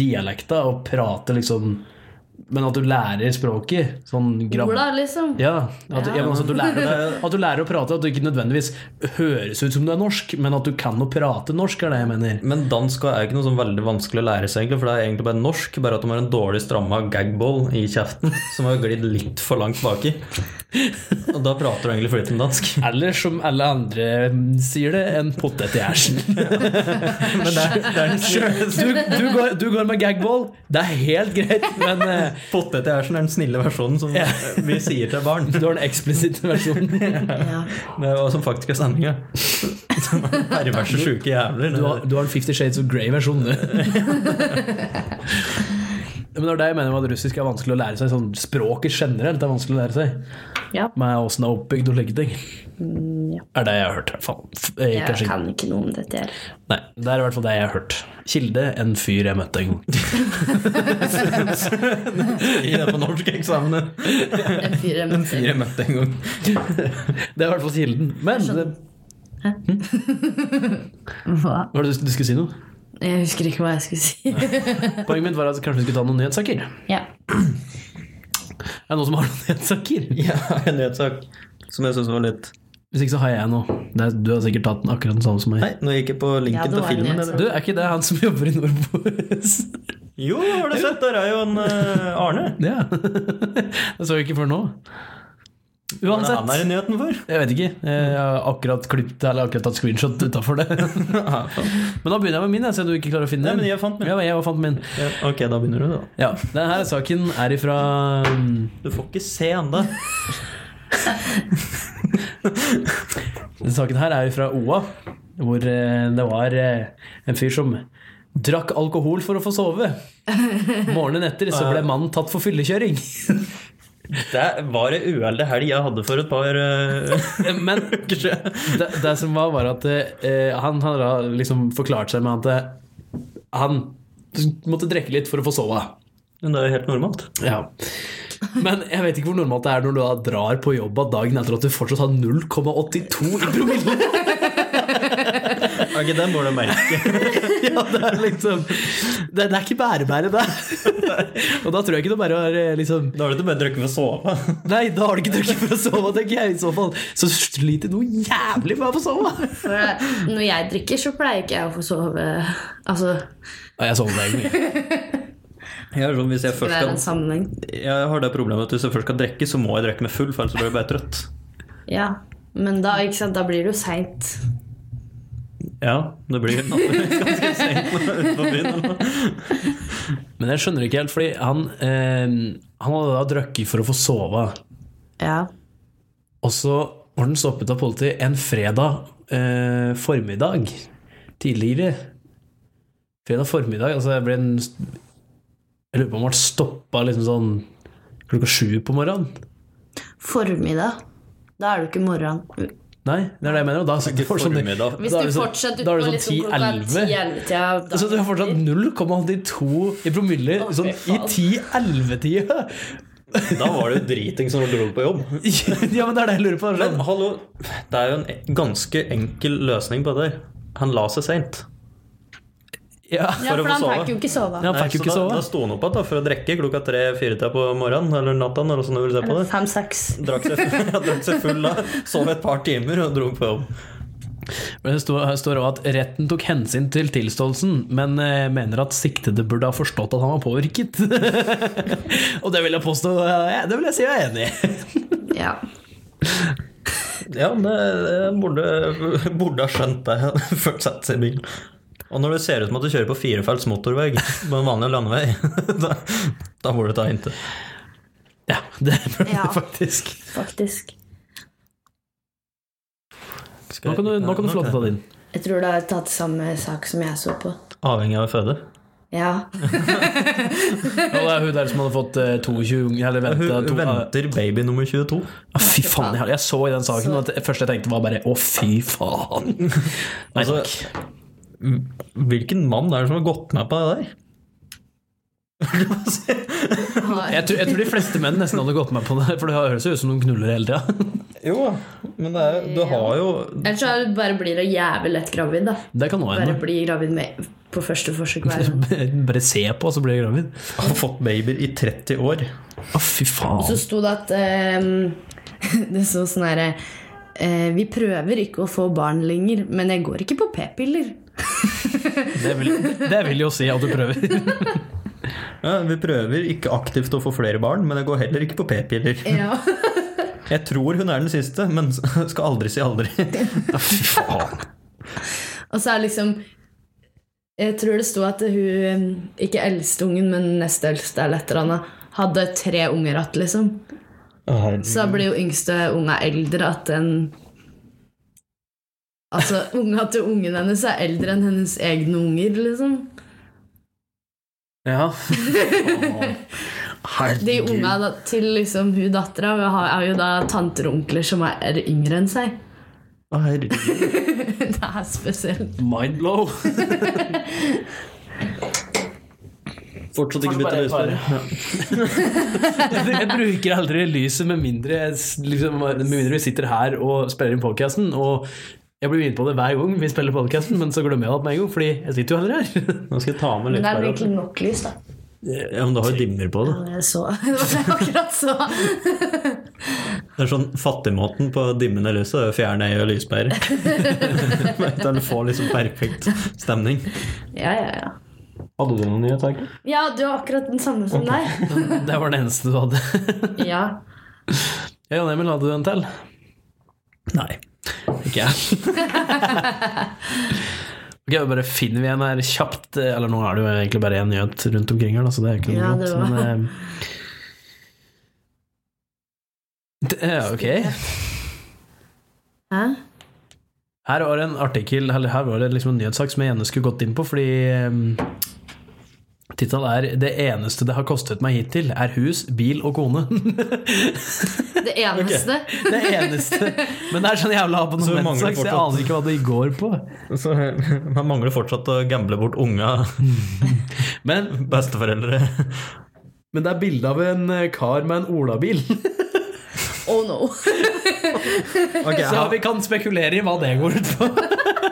S2: dialekta og prate, liksom Men at du lærer språket. Sånn gram...
S3: Ola, liksom.
S2: Ja, at, ja.
S3: Ja.
S2: men altså, at, du lærer, deg- at du lærer å prate, at du ikke nødvendigvis høres ut som du er norsk, men at du kan å prate norsk, er det jeg mener.
S1: Men dansk er jo ikke noe sånn veldig vanskelig å lære seg, egentlig, for det er egentlig bare norsk, bare at de har en dårlig stramma gagball i kjeften som har glidd litt for langt baki. Og da prater du egentlig flytende dansk.
S2: Eller som alle andre mm, sier det, en potet i æsjen.
S1: Men det er, det er den snille,
S2: Du, du, går, du går med gagball, det er helt greit, men eh,
S1: Potet i æsjen er sånn den snille versjonen som
S2: Ja.
S1: vi sier til barn.
S2: du har den eksplisitte versjonen.
S3: Ja.
S1: Det var som faktisk er sendinga. Som er Perverse, sjuke jævler.
S2: Du har, du har en Fifty Shades of Grey-versjon, du. Men det er det jeg mener med at russisk er vanskelig å lære seg. Sånn, språket generelt er vanskelig å lære seg.
S3: Ja.
S2: Med åssen det er oppbygd og slike ting.
S3: Mm, ja.
S2: Er det jeg har hørt, i hvert fall. F- eh,
S3: Jeg
S2: kanskje ikke-
S3: kan ikke noe om dette her.
S2: Nei, det er i hvert fall det jeg har hørt. Kilde, en fyr jeg møtte en gang.
S1: I det på norskeksamen.
S3: En fyr jeg
S1: En fyr
S3: møtte.
S1: jeg møtte en gang.
S2: Det er i hvert fall kilden. Men det,
S3: Hva?
S2: var det du, du skulle si noe?
S3: Jeg husker ikke hva jeg skulle si.
S2: Poenget mitt var at kanskje vi skulle ta noen nyhetssaker. Er
S3: Ja.
S2: det noen som har noen nyhetssaker?
S1: Ja, en nyhetssak som jeg synes var litt
S2: Hvis ikke så har jeg noe. Det er- Du har sikkert tatt den akkurat den samme som meg.
S1: Nei, nå gikk jeg på
S3: Ja,
S1: linken
S3: det
S1: til
S3: var en
S1: filmen.
S3: nyhetssak.
S1: eller?
S2: Du, er ikke det han som jobber i Nordbohus?
S1: Jo, har du sett? Der er jo en eh, Arne.
S2: Ja. Det så jeg ikke før nå.
S1: Hva er det han er i
S2: Uansett.
S1: nyheten for?
S2: Jeg vet ikke. Jeg har akkurat klippet, eller akkurat tatt screenshot utafor det. Men da begynner jeg med min, jeg, siden du ikke klarer å finne
S1: Nei,
S2: den.
S1: men jeg fant min.
S2: Ja, jeg fant min.
S1: Ja, ok, da begynner du, da.
S2: Ja. Denne saken er ifra um,
S1: Du får ikke se ennå.
S2: Denne saken her er ifra OA, hvor eh, det var eh, en fyr som drakk alkohol for å få sove. Morgenen etter så ble mannen tatt for fyllekjøring.
S1: Det var ei uheldig helg jeg hadde for et par eh,
S2: Men
S1: uker siden.
S2: det, det som var, var at eh, han hadde liksom forklart seg med at eh, han måtte drikke litt for å få sove.
S1: Men det er jo helt normalt.
S2: Ja. Men jeg vet ikke hvor normalt det er når du da drar på jobb av dagen etter at du fortsatt har 0,82 i promille.
S1: Ok, den må du merke.
S2: ja, det er liksom Det, det er ikke bærebære, det. og da tror jeg ikke det bare er eh, liksom
S1: Da har du ikke bare drukket med sove.
S2: Nei, da har du ikke drukket for å sove, tenker jeg. I så fall så sliter du noe jævlig med å få sove.
S3: For eh, når jeg drikker, så pleier ikke jeg å få sove Altså,
S2: Nei, jeg sovner egentlig.
S1: Jeg, er sånn, hvis jeg,
S3: det
S1: først
S3: er en
S1: skal,
S3: sammenheng.
S1: jeg har det problemet at hvis jeg først skal drikke, så må jeg drikke meg full, for ellers blir jeg bare trøtt.
S3: Ja. Men da, ikke sant, da blir det jo seint.
S1: Ja, det blir ganske sent ute på byen. eller noe.
S2: Men jeg skjønner ikke helt, fordi han, eh, han hadde da drukket for å få sove.
S3: Ja.
S2: Og så var den stoppet av politiet en fredag eh, formiddag tidligere. Fredag formiddag, altså jeg ble en Jeg lurer på om han ble stoppa liksom sånn klokka sju på morgenen.
S3: Formiddag. Da er det jo ikke morgenen.
S2: Nei, det er det jeg mener. Og da,
S1: Ikke formiddag.
S3: Hvis
S2: da er
S3: du
S2: det sånn-
S3: fortsetter
S2: da er det
S3: utpå
S2: sånn
S3: liksom klokka
S2: 10-11.
S3: 10-11-tida da-
S2: Så du har fortsatt 0,82 i promille
S3: Å, fy
S2: sånn, i
S3: faen.
S2: 10-11-tida!
S1: Da var det jo driting som dro på jobb.
S2: ja, men det er det jeg lurer på. det er
S1: Men
S2: Sånn.
S1: hallo, det er jo en e- ganske enkel løsning på det der. Han la seg seint.
S2: Ja.
S3: Ja,
S1: for å
S3: for
S1: få
S3: han
S1: sove.
S3: fikk jo ikke sove.
S2: Ja. Han
S1: Nei,
S2: fikk jo
S1: så
S2: ikke
S1: da,
S2: sove.
S1: da sto han opp igjen da, for å drikke klokka tre-fire tida på morgenen eller natta. Når sånn du vil se på det.
S3: Fem-seks.
S1: Drakk seg, full- ja, drakk seg full da, sov et par timer og dro på jobb.
S2: Men det står, her står også at retten tok hensyn til tilståelsen, men eh, mener at siktede burde ha forstått at han var påvirket. Og det vil jeg påstå ja, Det vil jeg si jeg er enig i.
S3: Ja.
S1: Ja, men det, det burde, burde ha skjønt det før du setter seg i bilen. Og når det ser ut som at du kjører på firefelts motorvei på en vanlig landevei, da, da må du ta hintet.
S2: Ja, det burde
S3: Ja.
S2: det faktisk.
S3: Faktisk.
S2: Nå kan du, nå kan du få lov til å ta din.
S3: Jeg tror det er tatt samme sak som jeg så på.
S1: Avhengig av føde.
S3: Ja.
S2: Ja, det er hun der som hadde fått eh, 22 unger, eller venta
S1: Hun
S2: to
S1: venter baby nummer 22.
S2: Ah, Fy faen, jeg- jeg så i den saken, og det første jeg tenkte var bare å, fy faen. Nei,
S1: Altså,
S2: takk.
S1: Hvilken mann er det som har gått med på det der?
S2: Jeg tror, jeg tror de fleste menn nesten hadde gått med på det, for det høres jo ut som de knuller hele tida.
S1: Jo, men det er, du har jo
S3: Ellers så er det bare blir du jævlig lett gravid, da.
S2: Det kan også
S3: Bare
S2: hende.
S3: bli gravid med, på første forsøk hver gang.
S2: Bare se på, så blir jeg gravid.
S1: har fått babyer i 30 år.
S2: Å, fy
S3: Så
S2: faen.
S3: sto det at eh, Det sto sånn herre eh, Vi prøver ikke å få barn lenger, men jeg går ikke på p-piller.
S2: Det vil, det vil jo si at du prøver.
S1: Ja, vi prøver ikke aktivt å få flere barn, men jeg går heller ikke på p-piller.
S3: Ja.
S1: Jeg tror hun er den siste, men skal aldri si aldri.
S2: Å, fy faen.
S3: Og så er det liksom Jeg tror det sto at hun Ikke eldste ungen, men neste eldste eller et eller annet, hadde tre unger igjen, liksom. Så da blir jo yngste unga eldre at den Altså, unga til ungen hennes er eldre enn hennes egne unger, liksom.
S2: Ja.
S3: De unga da, til liksom hun dattera er jo da tanter og onkler som er yngre enn seg.
S1: Å, herregud.
S3: Det er spesielt.
S2: Mind blow.
S1: Fortsatt ikke
S2: Kanskje
S1: bytte
S2: bare-
S1: løsning.
S2: Jeg bruker aldri lyset med mindre, jeg s- liksom, med mindre vi sitter her og spiller inn podkasten. Og jeg blir minnet på det hver gang vi spiller podkasten, men så glemmer jeg det med en gang, fordi jeg sitter jo heller her.
S1: Nå skal jeg ta med litt
S3: Men det
S1: her
S3: er
S1: oppe.
S3: egentlig nok lys, da.
S1: Ja, men du har jo dimmer på det.
S3: Jeg så Det var det jeg akkurat så.
S1: Det er sånn fattigmåten på dimmende lyset. det er å Fjerne ei og lyspære. Den får liksom perfekt stemning.
S3: Ja, ja, ja.
S1: Hadde du noen nye tanker?
S3: Ja, du har akkurat den samme som deg.
S2: Det var det eneste du hadde.
S3: Ja.
S2: Ja, Jan Emil, hadde du en til?
S1: Nei.
S2: Ikke jeg. ok, da bare finner vi en her kjapt. Eller nå er det jo egentlig bare én nyhet rundt omkring her, da, så det er ikke noe
S3: Ja, det
S2: godt.
S3: var-
S2: Men, eh, det, ja, ok.
S3: Hæ?
S2: Her var det en artikkel, eller her var det liksom en nyhetssak som jeg gjerne skulle gått inn på, fordi um, Tittelen er 'Det eneste det har kostet meg hittil, er hus, bil og kone'.
S3: Det eneste.
S2: det eneste. Men det er sånn jævla
S1: Så mangler
S2: abonnementsak, så jeg
S1: fortsatt-
S2: aner ikke hva det går på.
S1: Så man mangler fortsatt å gamble bort unga,
S2: Men
S1: besteforeldre
S2: Men det er bilde av en eh, kar med en olabil.
S3: Oh no.
S1: Ok,
S2: Så
S1: han,
S2: vi kan spekulere i hva det går ut på.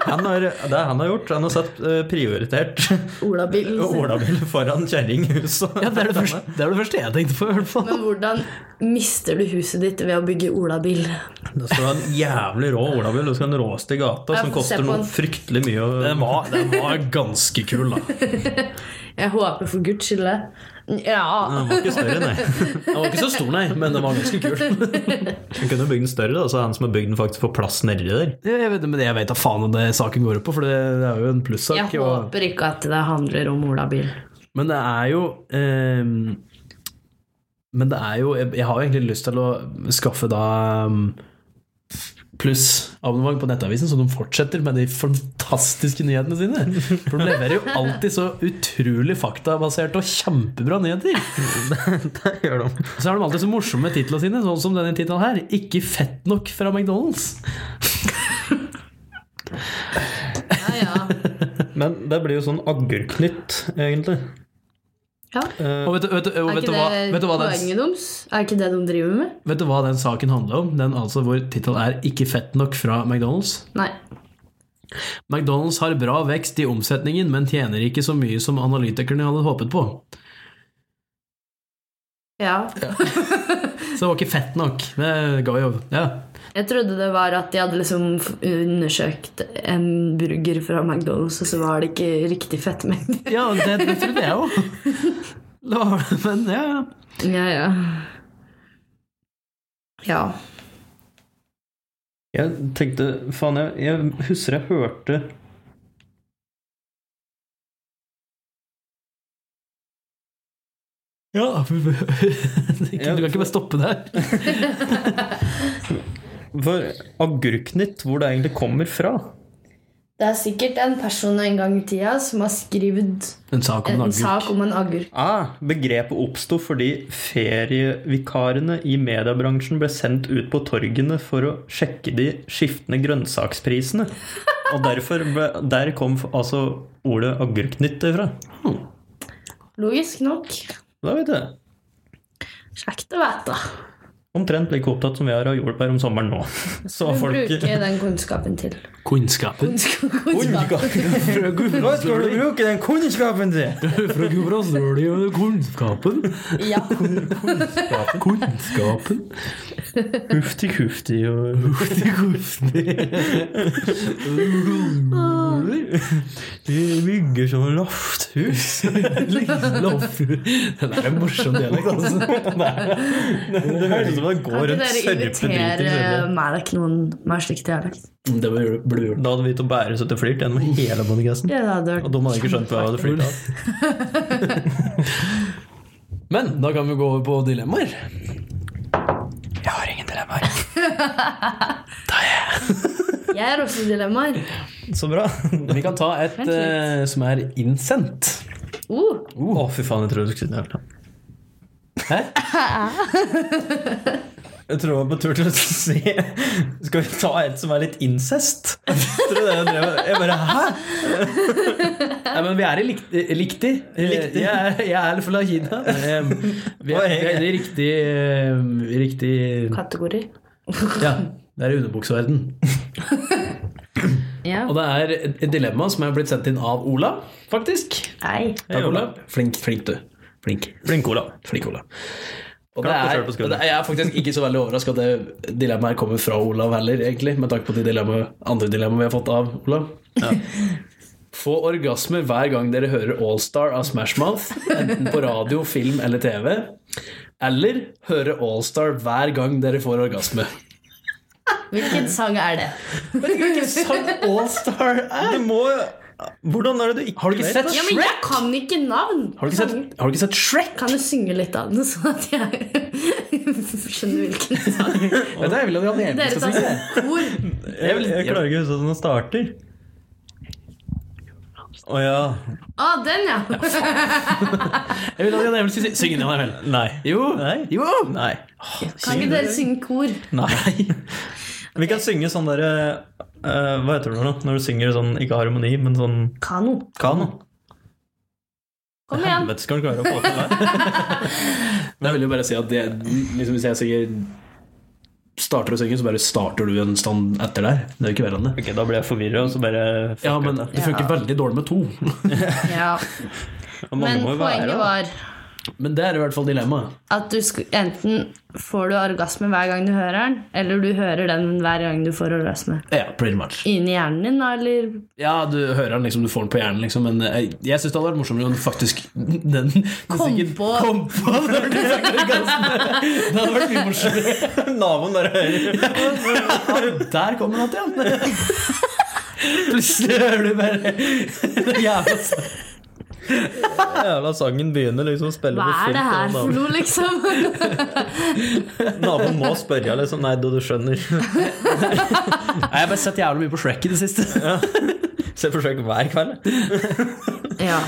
S1: han har, det han har gjort, han har satt eh, prioritert
S3: Olabil.
S1: olabil foran kjerringhuset.
S2: Ja, det, er det, første, det er det første jeg tenkte på, i hvert fall.
S3: Men hvordan mister du huset ditt ved å bygge olabil?
S1: Det skal ha en jævlig rå olabil, det skal ha en råeste i gata,
S3: Ja,
S1: som
S3: få se
S1: koster
S3: på
S1: noe
S3: den.
S1: fryktelig mye. å-
S2: Den var, den var ganske kul, da.
S3: Jeg håper for guds skyld det. Ja.
S1: Den var ikke større, nei.
S2: Den var ikke så stor, nei, men den var ganske kul.
S1: Han kunne bygd den større, da, så han som har bygd den, faktisk får plass nedi der.
S2: Jeg vet, men jeg vet da faen om det saken går ut på, for det, det er jo en
S3: Jeg
S2: plussak. og-
S3: håper ikke at det handler om olabil.
S2: Men det er jo eh, Men det er jo jeg, jeg har jo egentlig lyst til å skaffe da um, plussabonnement på Nettavisen, så de fortsetter med de fantastiske nyhetene sine. For de leverer jo alltid så utrolig faktabaserte og kjempebra nyheter.
S1: Det gjør de.
S2: Og så har de alltid så morsomme titlene sine, sånn som denne tittelen her. 'Ikke fett nok fra McDonald's'.
S3: Ja, ja.
S1: Men det blir jo sånn agurknytt, egentlig.
S3: ja.
S2: Og vet du, vet du, og
S3: Er
S2: vet
S3: ikke
S2: du, hva,
S3: det
S2: vet du hva den
S3: poenget deres? Er ikke det de driver med?
S2: Vet du hva den saken handler om? Den altså hvor tittelen er 'Ikke fett nok fra McDonald's'?
S3: Nei.
S2: McDonald's har bra vekst i omsetningen, men tjener ikke så mye som analytikerne hadde håpet på.
S3: Ja.
S2: Så det var ikke fett nok. Det ga jo Ja.
S3: Jeg trodde det var at de hadde liksom f- undersøkt en burger fra McDonald's, og så var det ikke riktig fettmengde.
S2: ja det, det trodde jeg òg. Det var Men ja, ja.
S3: Ja, ja. Ja.
S1: Jeg tenkte, faen, jeg, jeg husker jeg hørte
S2: ja. Du kan ikke bare stoppe der.
S1: for agurknytt hvor det egentlig kommer fra.
S3: Det er sikkert en person en gang i tida som har skrevet
S2: En sak om en
S3: en
S2: agurk.
S3: sak om en agurk.
S1: Ah, begrepet oppsto fordi ferievikarene i mediebransjen ble sendt ut på torgene for å sjekke de skiftende grønnsaksprisene. Og derfor ble, der kom f- altså ordet agurknytt ifra.
S3: Logisk nok.
S1: Da vet jeg.
S3: Kjekt å vite.
S1: Omtrent like opptatt som vi er av jordbær om sommeren nå. Så
S3: Du
S1: folk
S3: bruker den kunnskapen til.
S2: Kunnskapen.
S3: Kunnskap.
S2: Fra Gudbrandsdølen.
S1: bruke den kunnskapen din!
S2: Fra Gudbrandsdølen. Kunnskapen.
S3: Ja.
S2: Kunnskapen.
S1: Hufti hufti og
S2: Hufti, hufti.
S1: Vi bygger sånn lofthus.
S2: Det er en morsom dialekt, altså.
S1: Det høres ut som det går
S3: Kan ikke
S1: rundt
S3: dere
S1: sørpedriter.
S3: invitere Malek noen med slik dialekt?
S2: Det burde du gjort.
S1: Da hadde vi til å bære oss etter flirt gjennom hele podcasten.
S3: um, Ja, det hadde vært
S1: Og de hadde ikke skjønt hva jeg hadde flirta av.
S2: Men da kan vi gå over på dilemmaer. Jeg har ingen dilemmaer.
S3: Jeg har også dilemmaer.
S1: Så bra.
S2: Vi kan ta et
S3: Vent litt.
S2: eh, som er innsendt.
S3: Uh,
S1: Å, fy faen, jeg tror du skulle si det. hele
S2: Hæ?
S1: tatt. Jeg tror jeg var på tur til å si Skal vi ta et som er litt incest? Tror du det jeg drev med? Jeg bare Hæ?
S2: Nei, men vi er i likt, eh, likti. Eh,
S1: Likti.
S2: Jeg, er- jeg er fra Kina. Eh, Vi er, vi er i riktig, eh, riktig
S3: kategori.
S2: Ja, det er i underbukseverden.
S3: Ja.
S2: Og det er et dilemma som er blitt sendt inn av Ola, faktisk.
S3: Nei.
S2: Takk, Ola. Flink, flink du. Flink.
S1: Flink Ola.
S2: Flink, Olav. Og det
S1: Klapp deg
S2: er,
S1: selv på
S2: og
S1: skulderen.
S2: det er, jeg er faktisk ikke så veldig overraska at det dilemmaet her kommer fra Olav heller, egentlig, med tanke på de dilemma, andre dilemmaene vi har fått av Olav. Få orgasme hver gang dere hører Allstar av Smashmouth, enten på radio, film eller TV. Eller høre Allstar hver gang dere får orgasme.
S3: Hvilken sang er det?
S2: Sang Allstar er
S1: Du må jo Hvordan er det du ikke
S2: Har du ikke
S1: vet
S2: sett
S1: det?
S3: Ja, men jeg kan ikke navn.
S2: Har du ikke sett, har du ikke sett Shrek?
S3: Kan du synge litt av den, sånn at jeg skjønner hvilken sang?
S2: Vet du, jeg vil at Jan Emil
S3: Dere
S2: skal
S3: tar
S2: synge.
S3: sånn kor.
S1: Jeg, vil- jeg klarer ikke å huske at den starter. Å ja.
S3: Å, den, ja.
S2: Jeg vil at Jan Emil skal synge. Syng den, Jan Emil.
S1: Nei.
S2: Jo.
S1: Nei.
S2: jo.
S1: Nei.
S3: Kan ikke dere synge kor?
S1: Nei. Vi kan synge sånn derre eh, Hva heter det for noe? Når du synger sånn ikke harmoni, men sånn
S3: Kano.
S1: Kano.
S3: Kom igjen.
S1: Helvete skal han klare å få til det.
S2: Men jeg vil jo bare si at det, liksom hvis jeg synger starter å synge, så bare starter du en stand etter der. Det er jo ikke verre enn det.
S1: Ok, Da ble jeg forvirra, og så bare
S2: Ja, men det funker
S3: Ja.
S2: veldig dårlig med to.
S3: Ja.
S1: Og mange
S3: Men
S1: må jo være,
S3: poenget
S1: da.
S3: var
S2: Men det er i hvert fall dilemmaet.
S3: at du sku, enten får du orgasme hver gang du hører den, eller du hører den hver gang du får orgasme.
S2: Ja, pretty much.
S3: Inni hjernen din, da, eller
S2: Ja, du hører den liksom, du får den på hjernen, liksom, men jeg, jeg syns det hadde vært morsommere om du faktisk den, den
S3: Kom
S2: sikkert-
S3: på.
S2: Kom på det, hørte jeg sagt, orgasme. det hadde vært mye morsommere.
S1: Naboen bare hører.
S2: Der kommer han igjen. Plutselig hører du bare det jævla
S1: Jævla sangen begynner liksom å spille
S3: Hva
S1: på fullt.
S3: er det
S1: og
S3: her for
S1: naboen-
S3: noe, liksom?
S1: Naboen må spørre liksom. Nei, du, du skjønner.
S2: Nei, Jeg har bare sett jævlig mye på Shrek i det siste.
S1: Så jeg forsøker hver kveld.
S3: ja.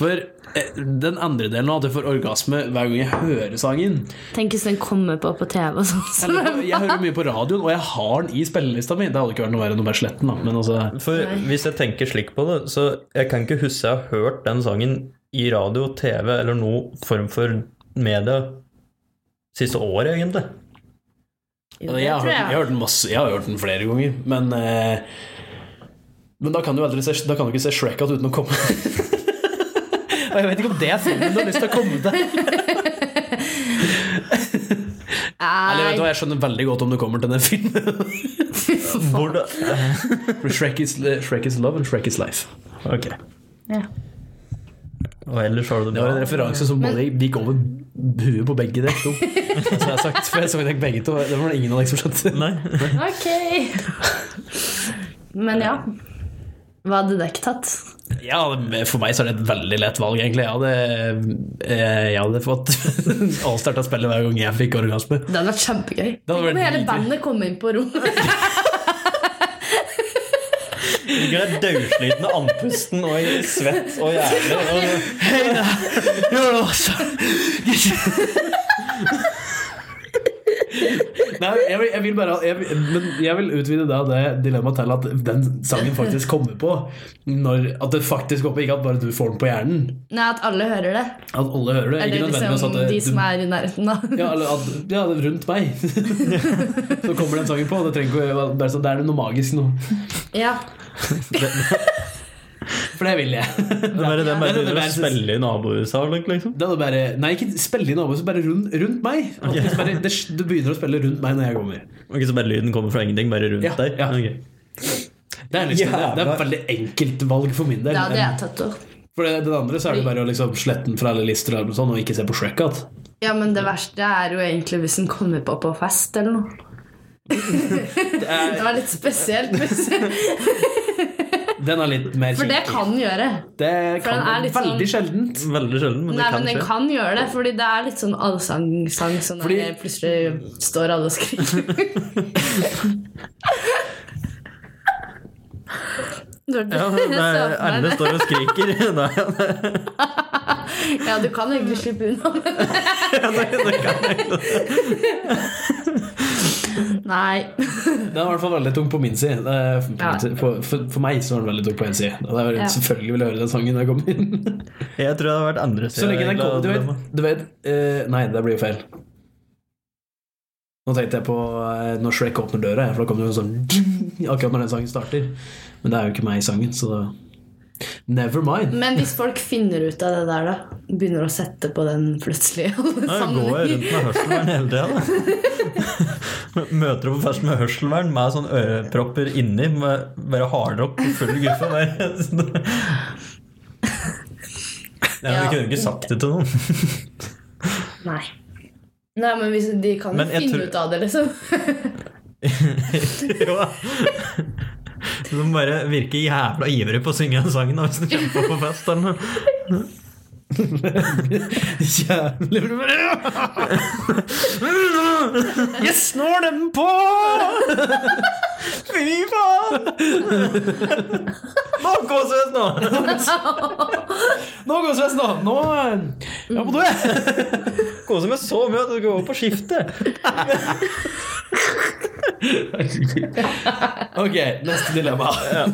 S2: For eh, den andre delen av at jeg får orgasme hver gang jeg hører sangen
S3: Tenk hvis den kommer på på TV og sånn. Så.
S2: Eller, Jeg hører mye på radioen, og jeg har den i spillelista mi. Det hadde ikke vært noe verre enn å bare slette den, da. Men altså,
S1: For hvis jeg tenker slik på det, så jeg kan ikke huske jeg har hørt den sangen i radio, TV eller noe form for media siste året, egentlig.
S3: Jo,
S2: jeg, har,
S3: tror
S2: hørt- jeg, har hørt den masse, jeg har hørt den flere ganger, men eh, Men da kan du, aldri se, da kan du ikke se Shrek igjen uten å komme Og jeg vet ikke om det er filmen du har lyst til å komme til. Eller vet du hva, Jeg skjønner veldig godt om du kommer til den filmen.
S1: Hvor da-
S2: Shrek is, Shrek is love and Shrek is life.
S1: Ok.
S3: Ja.
S1: Og ellers har du det
S2: Det var en
S1: bra.
S2: referanse som både gikk over huet på begge dere to. Som jeg har sagt, for jeg så dere begge to. Det var det ingen av dere som skjønte.
S1: Nei.
S3: Ok. Men ja. Hva hadde dere tatt?
S2: Ja, men for meg så er det et veldig lett valg, egentlig. Jeg hadde, eh, jeg hadde fått avstarta spillet hver gang jeg fikk orgasme.
S3: Det hadde vært kjempegøy.
S2: hadde
S3: Tenk om
S2: vært
S3: hele
S2: dritgøy.
S3: bandet kom inn på rommet.
S1: Ligger der daudsliten og andpusten og i svett og jævlig. Og...
S2: Hei da! Gjør det også! Nei, jeg vil, jeg vil bare jeg, vil- Men jeg vil utvide da det dilemmaet til at den sangen faktisk kommer på. Når, at det faktisk kommer på, ikke at bare du får den på hjernen.
S3: Nei, at alle hører det.
S2: At alle hører det. Ikke
S3: Eller
S2: nødvendigvis sånn at
S3: liksom
S2: det,
S3: de
S2: du-
S3: som er i nærheten, da.
S2: Ja, eller at, ja, det er rundt meg. så kommer den sangen på. Det trenger ikke å- bare sånn, det er noe magisk nå.
S3: Ja.
S2: For det vil jeg.
S1: Det er bare det med
S2: Ja, det er
S1: å
S2: det verste.
S1: spille i nabohuset, liksom.
S2: Det er bare, nei, ikke spille i naboen, så bare rundt, rundt meg. At det Bare, det, det begynner å spille rundt meg når jeg kommer.
S1: Ok, så bare lyden kommer fra ingenting, bare rundt
S2: Ja,
S1: deg?
S2: ja.
S1: Ok.
S2: Det er, liksom, det, det er et veldig enkelt valg for min del.
S3: Det hadde jeg tatt opp.
S2: For det, den andre så er det bare å liksom slette den fra alle lister og, alt sånn, og ikke se på Shrek igjen.
S3: Ja, men det verste er jo egentlig hvis den kommer på på fest eller noe. Det var litt spesielt, hvis-
S2: Den er litt mer
S3: for det kan gjøre.
S2: Det
S3: for den
S2: kan
S3: er
S2: den
S3: litt sånn-
S2: veldig sjeldent.
S1: Veldig sjelden, men det
S3: Nei,
S1: kan
S3: men den
S1: skje.
S3: kan gjøre det, fordi det er litt sånn allsangsang som
S2: Fordi-
S3: der plutselig står alle og skriker. Du hørte-
S1: Ja,
S3: jeg så
S1: nei,
S3: for meg
S1: Erne
S3: det.
S1: står og skriker. Nei, nei,
S3: Ja, du kan egentlig slippe unna med det.
S1: det kan jeg ikke.
S3: Nei.
S2: Den er i hvert fall veldig tung på min side. Det er- på
S3: Ja.
S2: min side. For, for, for meg så er den veldig tung på en side. Og det er,
S3: Ja.
S2: Selvfølgelig vil jeg høre den sangen når jeg kommer inn.
S1: Jeg tror det hadde vært andre
S2: Så lenge den
S1: egentlig,
S2: kommer, du
S1: av
S2: vet, du vet eh, Nei, det blir jo feil. Nå tenkte jeg på eh, når Shrek åpner døra, jeg, for da kommer det jo sånn akkurat når den sangen starter. Men det er jo ikke meg i sangen, så da Never mind.
S3: Men hvis folk finner ut av det der, da, begynner å sette på den plutselig i alle
S1: Ja, jeg går jeg
S3: sammenhenger.
S1: rundt med hørselvern hele tida, da. Møter opp på fest med hørselvern med sånn ørepropper inni, med bare hardrock på full guffe. bare. Nei, men Du
S3: Ja.
S1: kunne ikke sagt det til noen.
S3: Nei. Nei, men hvis, de kan jo
S1: Men jeg
S3: finne
S1: tror-
S3: ut av det, liksom.
S1: Jo. Du må bare virke jævla ivrig på å synge den sangen da, hvis du kommer på på fest. Eller noe.
S2: Jævlig bra. Jeg snår dem på!
S1: Fy faen! Nå kåses nå!
S2: Nå går Sves, nå! Nå eh, Ja, på do, jeg!
S1: Kose meg så mye at du går over på skiftet.
S2: Ok, neste dilemma.
S1: Ja,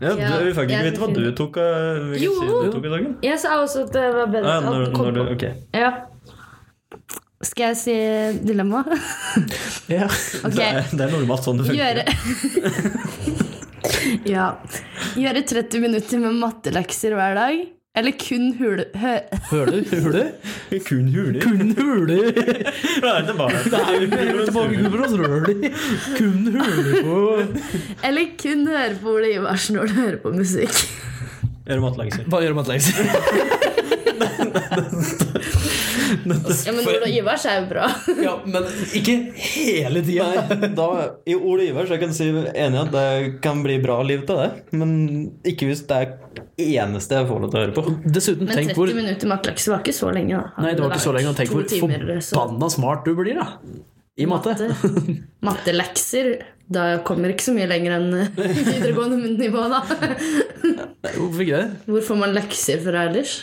S1: du,
S3: Ja,
S1: vi fikk ikke
S3: jeg
S1: vite hva du tok av hvilken
S3: Jo.
S1: side du tok i dagen.
S3: Jeg sa også at det var bedre
S1: Ja,
S3: at
S1: når,
S3: alt kom
S1: når du,
S3: på.
S1: ok.
S3: Ja. Skal jeg si dilemma?
S2: Ja.
S3: Ok.
S1: Det, er, det er normalt sånn det funker.
S3: Gjøre Ja. Gjøre 30 minutter med mattelekser hver dag. Eller kun hule... Hø
S2: Høler? Huler?
S1: Kun huler.
S2: Kun huler!
S1: Det er tilbake.
S2: Det er jo ikke noe tilbakeklubber, altså. Huler. Kun huler på
S3: eller kun høre på Ole Iversen når du hører på musikk.
S1: Gjøre matlekser.
S2: Bare gjør mattelekser.
S3: Ja, Men Ole Ivers er jo bra.
S2: Ja, men ikke hele tida.
S1: Nei, da, I Ole Ivers jeg kan si enig at det kan bli bra liv til det. Men ikke hvis det er eneste jeg får lov til å høre på.
S2: Dessuten,
S3: Men
S2: tenk hvor
S3: 30 minutter mattelekser var ikke så lenge, da.
S2: Nei, det var ikke så lenge. og Tenk
S3: To
S2: hvor
S3: timer eller så.
S2: forbanna smart du blir, da. I matte.
S3: Matte. Mattelekser. Da kommer ikke så mye lenger enn videregående nivå, da.
S2: Hvorfor ikke det?
S3: Hvor får man lekser fra ellers?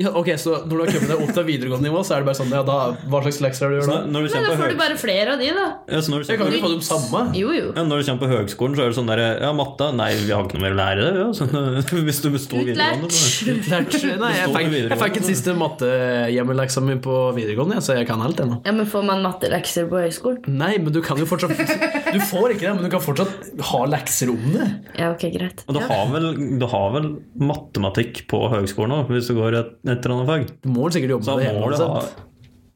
S2: Ja, ok, Så når du har kommet deg opp til videregående nivå, så er det bare sånn ja, da, Hva slags lekser er det du
S1: Så
S2: gjør da?
S1: når- når du
S3: Nei,
S1: kommer
S3: da
S1: på
S3: får
S1: høy-
S3: du bare flere av de, da.
S1: Ja, så når du
S2: Jeg
S1: kommer på-
S2: kan jo ikke få dem samme.
S3: Jo, jo.
S1: Ja, når du kommer på høgskolen, så er det sånn derre Ja, matte? Nei, vi har ikke noe mer å lære det. Ja, sånn, hvis du består videregående. så-
S2: Lært.
S3: Utlært.
S1: Består
S2: Nei, jeg fikk,
S1: på videregående.
S2: jeg fikk en siste mattehjemmeleksa mi på videregående, ja, så jeg kan alt ennå.
S3: Ja, men får man mattelekser på høyskolen?
S2: Nei, men du kan jo fortsatt Du får ikke det, men du kan fortsatt ha lekser om det.
S3: Ja, ok, greit.
S1: Og du har, vel, du har vel matematikk på høgskolen òg, hvis du går et, et eller annet fag?
S2: Du må vel sikkert jobbe
S1: Da
S2: med det.
S1: må
S2: hjemme,
S1: du ha
S2: altså.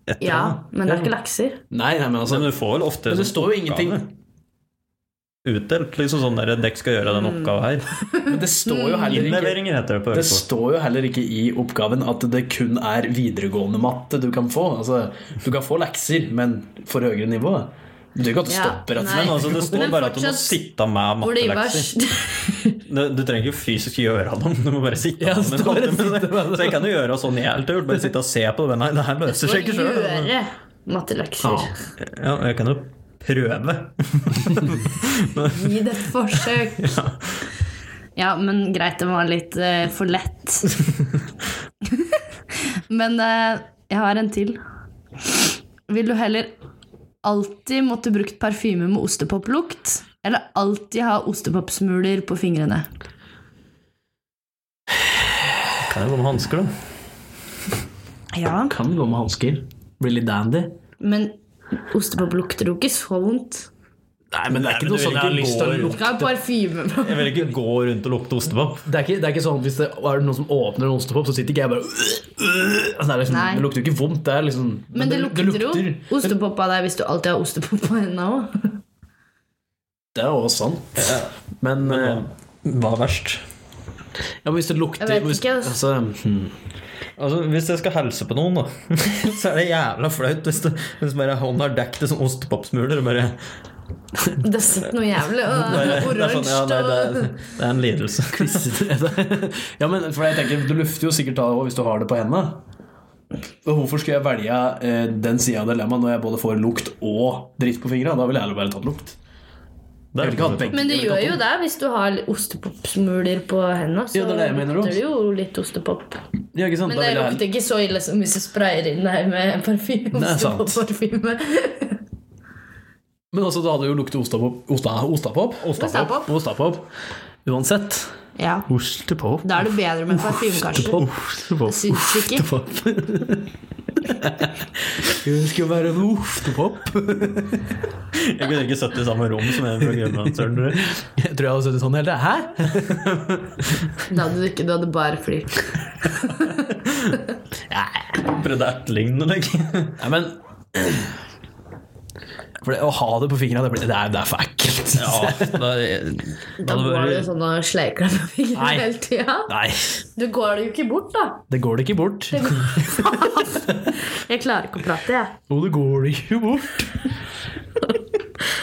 S1: et eller
S3: Ja,
S1: annet.
S3: men det er ikke lekser.
S2: Nei, nei, men altså
S1: Men du får vel ofte
S2: Men det
S1: sånn
S2: står jo ingenting
S1: oppgave Utdelt, liksom sånn der Dekk skal gjøre den oppgaven her.
S2: Men det står jo heller ikke
S1: Innleveringer heter det på
S2: Mm. Det
S1: høgskolen.
S2: står jo heller ikke i oppgaven at det kun er videregående matte du kan få. Altså, du kan få lekser, men for høyere nivå. Det betyr ikke at du
S3: Ja,
S2: stopper. At
S3: nei.
S1: Men altså, det står
S3: Men
S1: bare at du må
S3: fortsatt-
S1: sitte med
S3: Hvor det var
S1: mattelekser. Du, du trenger ikke fysisk gjøre dem, du må bare sitte
S2: Ja,
S1: med
S2: det står bare
S1: matte-
S2: sitte med det.
S1: Så jeg kan jo gjøre sånn jeg alltid har gjort, bare sitte og se på det. Nei, det her løser seg ikke
S3: å
S1: sjøl.
S3: gjøre mattelekser.
S2: Ja.
S1: Ja, jeg kan jo prøve.
S3: Gi det et forsøk. Ja, men greit, det var litt eh, for lett. men eh, jeg har en til. Vil du heller alltid måtte brukt parfyme med ostepoplukt, eller alltid ha ostepopsmuler på fingrene?
S1: Kan jeg gå med hansker, da?
S3: Ja,
S2: Kan gå med hansker. Blir litt dandy.
S3: men ostepop lukter jo ikke så vondt.
S2: Nei, men det er
S1: Nei, men
S2: ikke noe
S1: du
S2: sånn
S1: vil
S2: jeg har
S1: ikke
S2: lyst til å
S1: gå rundt.
S2: lukte.
S3: Ikke ha parfyme på
S1: Jeg vil ikke gå rundt og lukte ostepop.
S2: Det er, ikke, det er ikke sånn at hvis det er noen som åpner en ostepop, så sitter ikke jeg bare altså, det, er liksom,
S3: Nei.
S2: det lukter jo ikke vondt. Det er liksom
S3: Men det lukter, jo ostepop av deg hvis du alltid har ostepop på hendene òg.
S2: Det er også sant. Men, eh,
S1: Hva er verst?
S2: ja, men hvis det lukter
S3: Jeg vet
S2: hvis,
S3: ikke,
S2: altså, hmm.
S1: Altså, Hvis jeg skal hilse på noen, da, så er det jævla flaut hvis, det, hvis bare hånda er dekket i sånn ostepopsmuler. og bare...
S3: Det sitter noe jævlig og
S1: Det er sånn, ja,
S3: oransje
S1: nei, det,
S3: og
S1: er, det er en lidelse.
S2: ja, men for jeg tenker, Du lufter jo sikkert av hvis du har det på hendene. Og Hvorfor skulle jeg velge eh, den sida av dilemmaet når jeg både får lukt og dritt på fingra? Da ville jeg heller bare tatt lukt.
S1: Det
S2: Jeg vil ikke ha begge.
S3: Men det
S2: jeg vil
S3: gjør
S2: ikke ha
S3: jo det hvis du har ostepopsmuler på hendene. Så
S2: Ja, det er det jeg mener
S3: lukter
S2: også.
S3: det jo litt ostepop.
S2: to. Ja, ikke sant?
S3: Men
S2: Da
S3: det
S2: vil jeg
S3: lukter ikke så ille som hvis du sprayer inn deg med parfyme.
S2: Det er sant.
S3: ostepopparfyme.
S2: heller- Men også, da hadde det jo luktet ostapop. Osta, ostapop.
S3: Ostapop.
S2: Ostapop. Uansett.
S3: Ja,
S2: Ostepop.
S3: da er det bedre med parfyme, kanskje.
S2: Ostepop.
S3: Syns ikke.
S2: Hun skulle være en ostepop.
S1: Jeg kunne ikke sittet i samme rom som en fra Grønlandsøren.
S2: Jeg tror jeg hadde sittet sånn hele Hæ?
S3: Da hadde du ikke, du hadde bare flirt.
S1: Prøvde å etterligne deg.
S2: Nei, men For det, å ha det på fingra, det, blir- det, er- det er for ekkelt.
S1: Ja, da,
S3: Da går du sånn og sleiker deg på fingrene
S2: Nei.
S3: hele tida.
S2: Nei,
S3: Du går det jo ikke bort, da.
S2: det går det ikke bort.
S3: Jeg klarer ikke å prate, jeg.
S2: Jo, det går det ikke bort.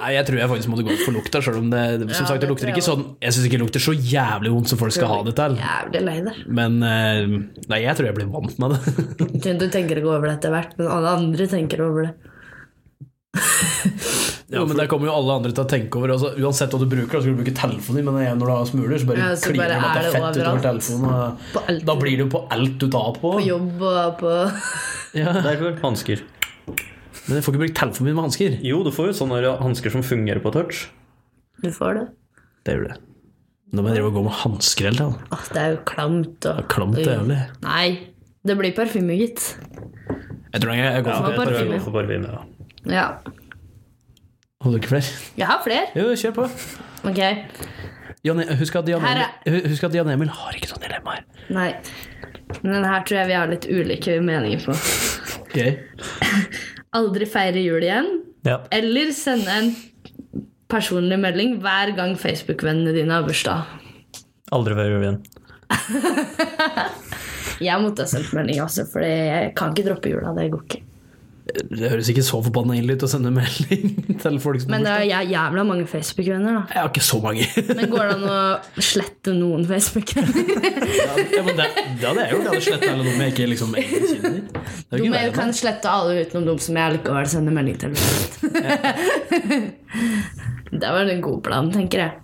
S2: Nei, jeg tror jeg faktisk måtte gå for lukta, sjøl om det som
S3: Ja,
S2: sagt, det
S3: det
S2: lukter
S3: tror jeg
S2: ikke sånn Jeg syns ikke det lukter så jævlig vondt som folk skal ha det til.
S3: Jævlig lei deg.
S2: Men eh, nei, jeg tror jeg blir vant med det.
S3: Du tenker ikke over det etter hvert, men alle andre tenker over det.
S2: Jo, men Der kommer jo alle andre til å tenke over altså, Uansett hva du bruker, da skal du bruke telefonen din, men igjen, når du har smuler, så bare
S3: Ja, så
S2: kliner
S3: bare
S2: det med at det
S3: er
S2: er
S3: det
S2: fett utover
S3: overalt.
S2: telefonen. Og,
S3: På alt.
S2: da blir det jo på alt du tar på.
S3: På jobb og på
S2: Ja.
S1: Derfor hansker.
S2: Men jeg får ikke brukt telefonen min med hansker.
S1: Jo, du får jo sånne hansker som fungerer på touch.
S3: Du får det.
S2: Det gjør det. Nå må jeg drive og gå med hansker hele tiden.
S3: Åh, det er jo klamt. Og,
S2: Klamt og jævlig.
S3: Nei. Det blir parfyme, gitt.
S2: Jeg tror jeg går
S1: Ja, jeg
S2: for det.
S1: tror jeg går for parfyme. Ja.
S3: Ja.
S2: Holder du ikke flere?
S3: Jeg har flere.
S2: Jo, kjør på.
S3: Ok.
S2: Jan, husk, at Jan
S3: Her
S2: Emil, hu- husk at Jan Emil har ikke sånne dilemmaer.
S3: Nei. Men den her tror jeg vi har litt ulike meninger på.
S2: Okay.
S3: Aldri feire jul igjen.
S1: Ja.
S3: Eller sende en personlig melding hver gang Facebook-vennene dine har bursdag.
S1: Aldri før jul igjen.
S3: Jeg måtte ha sendt melding, altså, for jeg kan ikke droppe jula. Det går ikke.
S2: Det høres ikke så forbanna ille ut å sende melding til folk som
S3: Men det er jæ- jævla mange Facebook-venner, da.
S2: Jeg har ikke så mange.
S3: Men går det an å slette noen Facebook-venner?
S2: ja, men det, det hadde jeg gjort. Jeg hadde sletta alle dem jeg ikke liksom egentlig kjenner. Det er jo ikke
S3: Du må-
S2: det,
S3: jeg kan slette alle utenom dem som jeg likevel sender melding til. Det var en god plan, tenker jeg.
S2: da.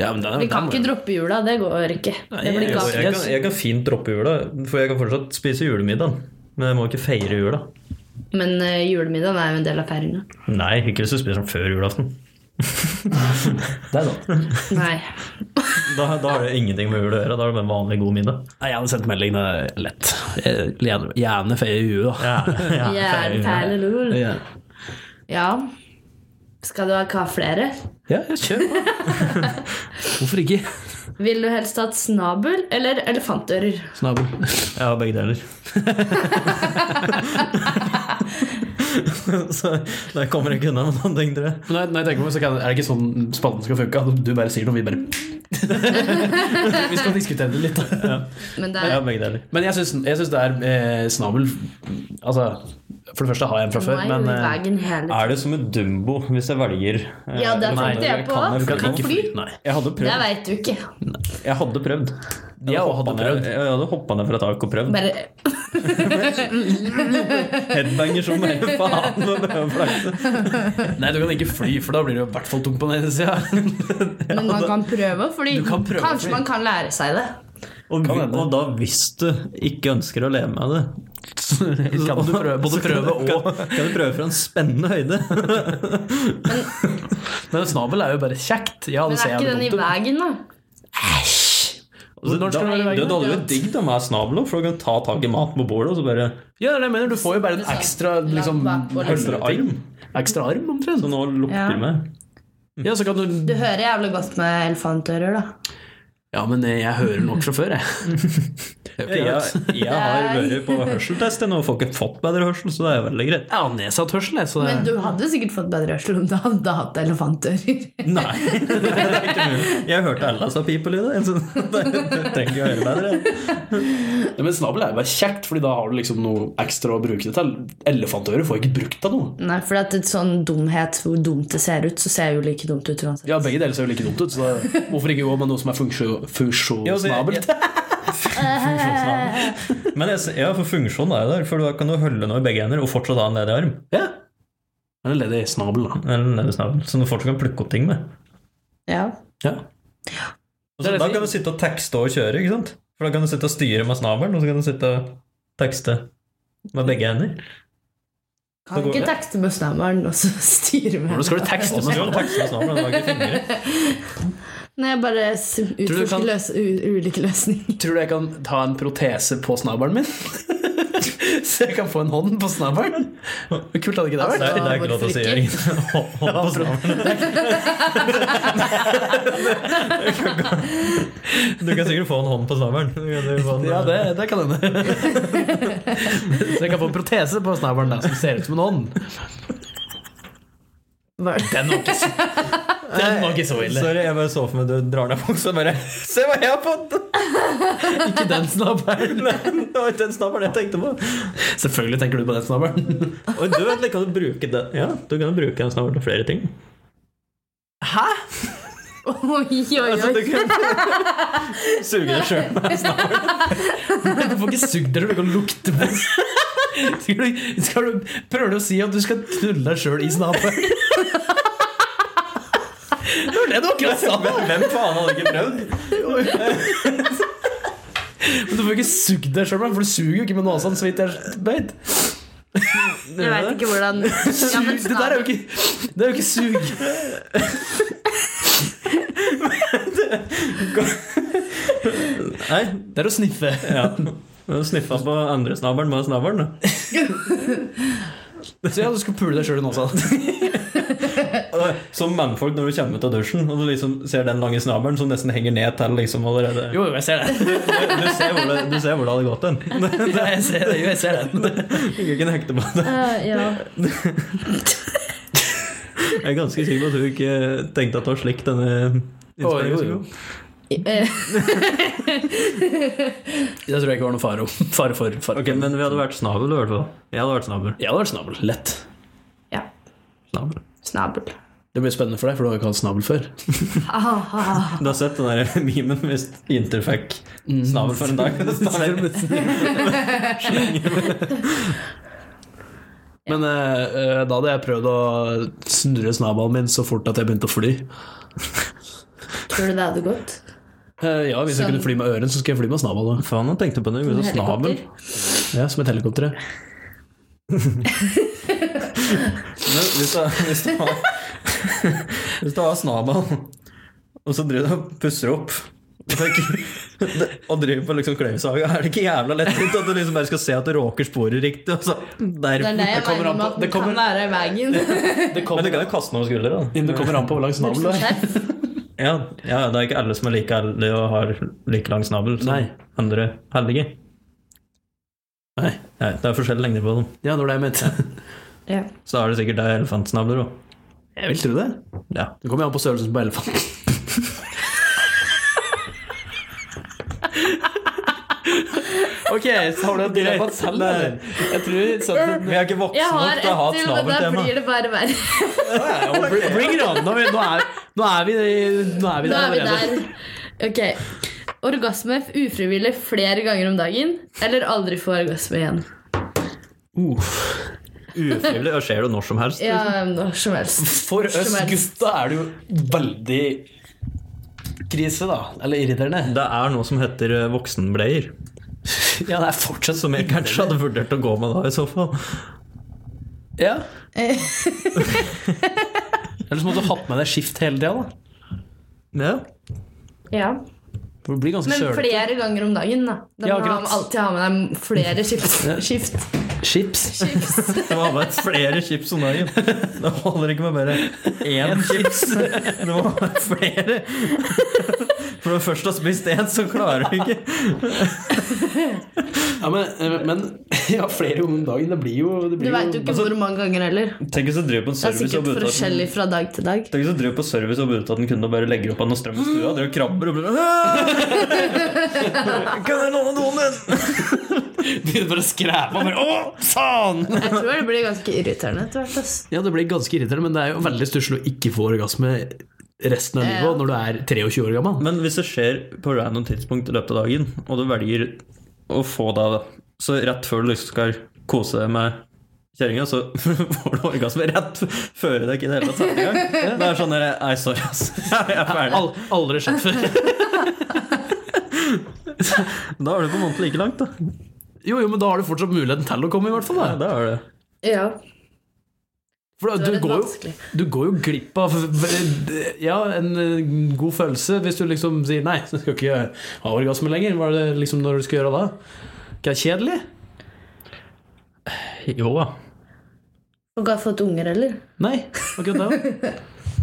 S2: ja, men det er-
S3: Vi kan
S2: det er-
S3: ikke droppe jula. Det går ikke. Det blir
S1: Jo,
S3: galt.
S1: jeg, kan, jeg kan fint droppe jula, for jeg kan fortsatt spise julemiddag. Men jeg må ikke feire jula.
S3: Men eh, julemiddagen er jo en del av feiringa.
S1: Nei, ikke hvis du spiser den før julaften.
S2: Det er sant.
S3: Nei.
S1: Da, da har det ingenting med jul å gjøre. Da er det bare en vanlig god middag.
S2: Nei, jeg hadde sendt melding, det er lett. Jeg- Gjerne, gjerne feie i huet, da.
S1: Ja, ja, feire jula.
S3: Jernperlelul.
S2: Ja,
S3: Ja. Skal du ha hva flere?
S2: ja kjør på. Hvorfor ikke?
S3: Vil du helst hatt snabel eller elefantører?
S2: Snabel.
S1: Jeg har begge deler. så der kommer jeg ikke unna med noen ting, tror jeg.
S2: Nei, nei tenk meg, så kan, er det ikke sånn spalten skal funke? at Du bare sier noe, vi bare Vi skal diskutere det litt, da.
S3: Men det
S1: Jeg
S3: er,
S1: har begge deler.
S2: Men jeg syns, jeg syns det er eh, snabel Altså, for det første har jeg en fra
S3: nå
S2: før,
S3: er jo
S2: men
S3: i
S2: eh,
S3: veien hele
S1: Er det som et dumbo hvis jeg velger eh,
S3: Ja, det
S1: elefanter?
S3: tenkte jeg på.
S1: Kan jeg,
S3: Du
S1: kan
S3: kan
S1: jeg,
S3: fly.
S2: Nei.
S1: jeg hadde
S3: Det
S1: prøvd.
S3: veit du ikke.
S1: Jeg hadde prøvd.
S2: Jeg
S1: Jeg
S2: hadde
S1: hadde,
S2: prøvd.
S1: ned, jeg hadde hoppa ned fra taket og prøvd.
S3: Bare
S1: Headbanger som bare faen. med brødflakse.
S2: Nei, du kan ikke fly, for da blir det jo i hvert fall tomt på den ene sida.
S3: Men man kan prøve, fordi
S2: Du kan prøve,
S3: kanskje
S2: fordi-
S3: man kan lære seg det.
S1: Og,
S2: Kan hende.
S1: og da, hvis du ikke ønsker å leve med det
S2: Kan du prøve,
S1: så
S2: både
S1: kan
S2: prøve
S1: du-
S2: og Altså,
S1: kan, kan du prøve fra en spennende høyde?
S2: Men snabel er jo bare kjekt. Ja, det
S3: Men
S2: ser
S3: er
S2: jeg jo
S3: ikke den i
S2: dumt ut.
S3: veien, da?
S2: Altså, når
S1: da, det
S2: skal du være i veien?
S1: det hadde vært digg da med snabel, for du kan ta tak i maten på bordet og så bare
S2: Ja, det er det jeg mener. Du får jo bare en ekstra liksom,
S3: Langt bak og langt
S1: Ekstra arm.
S2: Ekstra arm,
S1: Så
S2: omtrent.
S1: nå
S3: Ja.
S1: lukter det meg.
S2: Ja, så kan du
S3: Du hører jævlig godt med elefantører, da.
S2: Ja, men jeg hører nok fra før, jeg. Jeg hører
S1: Jeg,
S2: ikke helt.
S1: jeg har vært på hørselstest ennå og får ikke fått bedre hørsel, så det er veldig greit.
S2: Jeg har nedsatt hørsel, jeg, så det
S3: Men du hadde sikkert fått bedre hørsel om du hadde hatt elefantører.
S1: Nei, det er ikke mulig. Jeg hørte alle sa pipelyder, så det det trenger ikke å høre bedre.
S2: Ja, Men snabel er jo bare kjekt, Fordi da har du liksom noe ekstra å bruke det til. Elefantører får ikke brukt av noe.
S3: Nei, for at et sånn dumhet, hvor dumt det ser ut, så ser det jo like dumt ut uansett.
S2: Ja, Begge deler ser jo like dumt ut, så da, hvorfor ikke gå med noe som er funksjo-
S1: Ja, så jeg-
S2: funksjonsnabelt?
S1: Funksjonsnavn. Men jeg, ser- ja, for funksjon er jo der, for da kan du holde noe i begge hender og fortsatt ha en ledig arm.
S2: Ja. Eller ledig snabel, da.
S1: Eller en ledig snabel, som du fortsatt kan plukke opp ting med.
S3: Ja.
S2: Ja.
S1: Og så, da kan du sitte og tekste og kjøre, ikke sant? For da kan du sitte og styre med snabelen, og så kan du sitte og tekste med begge hender.
S3: Kan
S1: Så går-
S3: ikke tekste med snabelen og så styre med
S2: Hvordan skal du tekste
S1: Og så
S2: med
S1: kan du tekste med snabelen, det var ikke fingre.
S3: Nei, jeg bare s- utforsker
S2: kan-
S3: løs, u, ulike løsninger.
S2: Tror du jeg kan ta en protese på snabelen min? så jeg kan få en hånd på snabelen? Hvor kult hadde ikke
S1: Det
S2: det vært?
S1: er, det er ikke lov til å si, Jørgen. Hold hold på snabelen. Du kan sikkert få en hånd på snabelen. Du kan sikkert få en-
S2: Ja, det, det kan hende. så jeg kan få en protese på snabelen da, som ser ut som en hånd.
S3: Hva-
S2: Den var ikke så, den var ikke så ille.
S1: Sorry, jeg bare så for meg du drar ned buksa og bare Se hva jeg har fått!
S2: Ikke den snabelen.
S1: Nei, Det var ikke den snabelen jeg tenkte på.
S2: Selvfølgelig tenker du på den snabelen.
S1: Og du vet, kan du bruke den Ja, du kan bruke den snabelen til flere ting.
S2: Hæ?
S3: Oi, oi,
S1: Altså, du
S3: oi.
S1: kan suge deg sjøl med en snabel.
S2: Du får ikke sugd deg, du kan lukte på skal du, skal du, Prøver du å si at du skal knulle deg sjøl i snabelen? Det var det du akkurat sa.
S1: Men Hvem faen hadde ikke prøvd?
S2: Men du får ikke sugd deg sjøl, for du suger jo ikke med nesa så vidt jeg vet.
S3: Jeg veit ikke hvordan ja, men
S2: Det der er jo ikke
S3: snabel-
S2: Det er jo ikke sug.
S1: Nei,
S2: Det er å sniffe.
S1: ja. Sniffa på andre snabelen med snabelen. da.
S2: Så ja, du skulle pule deg sjøl nå, sa han.
S1: Og Som mannfolk når du kommer ut av dusjen og du liksom ser den lange snabelen som nesten henger ned til liksom allerede
S2: Jo, jo, jeg ser det.
S1: Du, du, ser hvor det, du ser hvor det hadde gått hen.
S2: Ja, jeg ser det. Jo, jeg ser det.
S1: Jeg kan hekte på det.
S3: Eh, ja.
S1: Jeg er ganske sikker på at du ikke tenkte at det var slik denne
S2: Å, jo,
S1: innspillingen
S2: jo.
S1: skulle gå.
S2: Det
S3: Eh,
S2: tror jeg ikke var noe fare om- fare for. Fare.
S1: Ok, men vi hadde vært snabel, i hvert fall. Jeg hadde vært snabel.
S2: Jeg hadde vært snabel. Lett.
S3: ja.
S1: snabel.
S3: Snabel.
S2: Det blir spennende for deg, for du har jo ikke hatt snabel før.
S3: Ah, ah.
S1: Du har sett den der memen hvis Inter fikk
S2: Mhm.
S1: snabel for en dag? Så tar det-
S2: Men eh, eh, da hadde jeg prøvd å snurre snabelen min så fort at jeg begynte å fly.
S3: Tror du det hadde gått?
S2: Eh, ja, Hvis jeg
S3: Sånn.
S2: kunne fly med øren, så skulle jeg fly med snabelen. da.
S1: Faen, jeg tenkte på det.
S3: Med
S1: Så snabel.
S3: helikopter?
S2: Ja, som et helikopter. ja.
S1: Men hvis du, hvis du har, hvis du har snabel, og så driver du og pusser opp og tenker- og driver på liksom kløyvsaga, er det ikke jævla lettvint at du liksom bare skal se at du råker sporet riktig? Og så der,
S3: Det er det jeg
S2: Det kommer
S3: mener
S2: an på-
S3: med at
S2: det
S3: den
S2: kommer-
S3: kan være i veien.
S2: Det
S1: Men du
S2: kommer,
S1: kan jo kaste den over skuldra. da.
S2: det kommer an på hvor lang snabel du har.
S3: Skjerf.
S1: Ja, ja, det er ikke alle som er like heldige og har like lang snabel som
S2: Nei.
S1: andre heldige.
S2: Nei.
S1: Nei, det er forskjellig lengde på dem.
S2: Ja, det var det jeg mente.
S3: Ja.
S1: Så er det sikkert det er elefantsnabler òg.
S2: Jeg vil tro det.
S1: Ja.
S2: Det kommer jo an på størrelsen på elefanten. ok, så har du et dilemma selv, eller? Jeg tror sånn,
S1: Vi er ikke voksne
S3: Jeg har
S1: nok
S3: et
S1: til å ha et
S3: til, men da
S1: snabeltema.
S3: blir det bare verre.
S2: Bring it on! Nå er, nå er, nå er, vi, nå er vi
S3: Nå
S2: der
S3: er vi
S2: allerede.
S3: der. Ok. Orgasme ufrivillig flere ganger om dagen, eller aldri få orgasme igjen?
S2: Uff.
S1: Ufrivillig. Det skjer jo når som helst.
S3: Ja, når som helst.
S2: For oss
S3: Som helst.
S2: gutta er det jo veldig krise, da. Eller irriterende.
S1: Det er noe som heter eh, voksenbleier,
S2: Ja, det er fortsatt
S1: som jeg kanskje hadde vurdert å gå med da, i så fall.
S2: Ja.
S3: Eh,
S2: Eller så måtte du hatt med deg skift hele tida, da.
S1: Ja.
S3: Ja.
S2: For det blir ganske
S3: Men
S2: sølete.
S3: flere ganger om dagen, da. Da
S2: Ja,
S3: må
S2: akkurat.
S3: man alltid ha med deg flere skift. skift.
S2: Chips.
S3: Chips.
S1: Det var bare flere chips om dagen. Det holder ikke med bare én chips. Det må være flere. For når du først har spist én, så klarer du ikke
S2: Ja, men, eh, men ja, flere ganger om dagen, det blir jo det
S3: Du
S2: blir
S3: veit jo ikke hvor mange ganger heller.
S1: Tenk hvis du driver på en
S3: Altså, Det
S1: service
S3: er
S1: og
S3: sikkert
S1: budet at den-
S3: forskjellig fra dag til dag.
S1: Tenk hvis du driver på service og budet at en kunde og bare legger opp av noe strøm i stua. Driver og krabber og bare Kan jeg låne doen din?
S2: Begynner bare å skræpe og bare Å, faen!
S3: Jeg tror det blir ganske irriterende etter hvert. ass.
S2: Ja, det blir ganske irriterende, men det er jo veldig stusslig å ikke få orgasme resten av
S3: Ja.
S2: livet og når du er 23 år gammel.
S1: Men hvis det skjer på random tidspunkt i løpet av dagen, og du velger å få deg det, så rett før du liksom skal kose deg med kjerringa, så får du orgasme rett før deg ikke i det hele tatt setter i gang. Det er sånn der Nei, sorry, ass. Jeg er ferdig.
S2: Al aldri skjedd før.
S1: Da er du på en måte like langt, da.
S2: Jo, jo, men da har du fortsatt muligheten til å komme, i hvert fall.
S1: Ja,
S2: Da.
S1: da er det.
S3: Ja,
S2: For
S3: da
S2: da,
S3: er
S2: du,
S3: det
S2: går jo,
S3: vanskelig.
S2: du går jo glipp av ja, en eh, god følelse hvis du liksom sier nei, så skal jeg ikke ha orgasme lenger. Hva er det liksom når du skal gjøre da? Ikke er det kjedelig?
S1: Jo da.
S3: Og har fått unger, eller?
S2: Nei, akkurat det. også.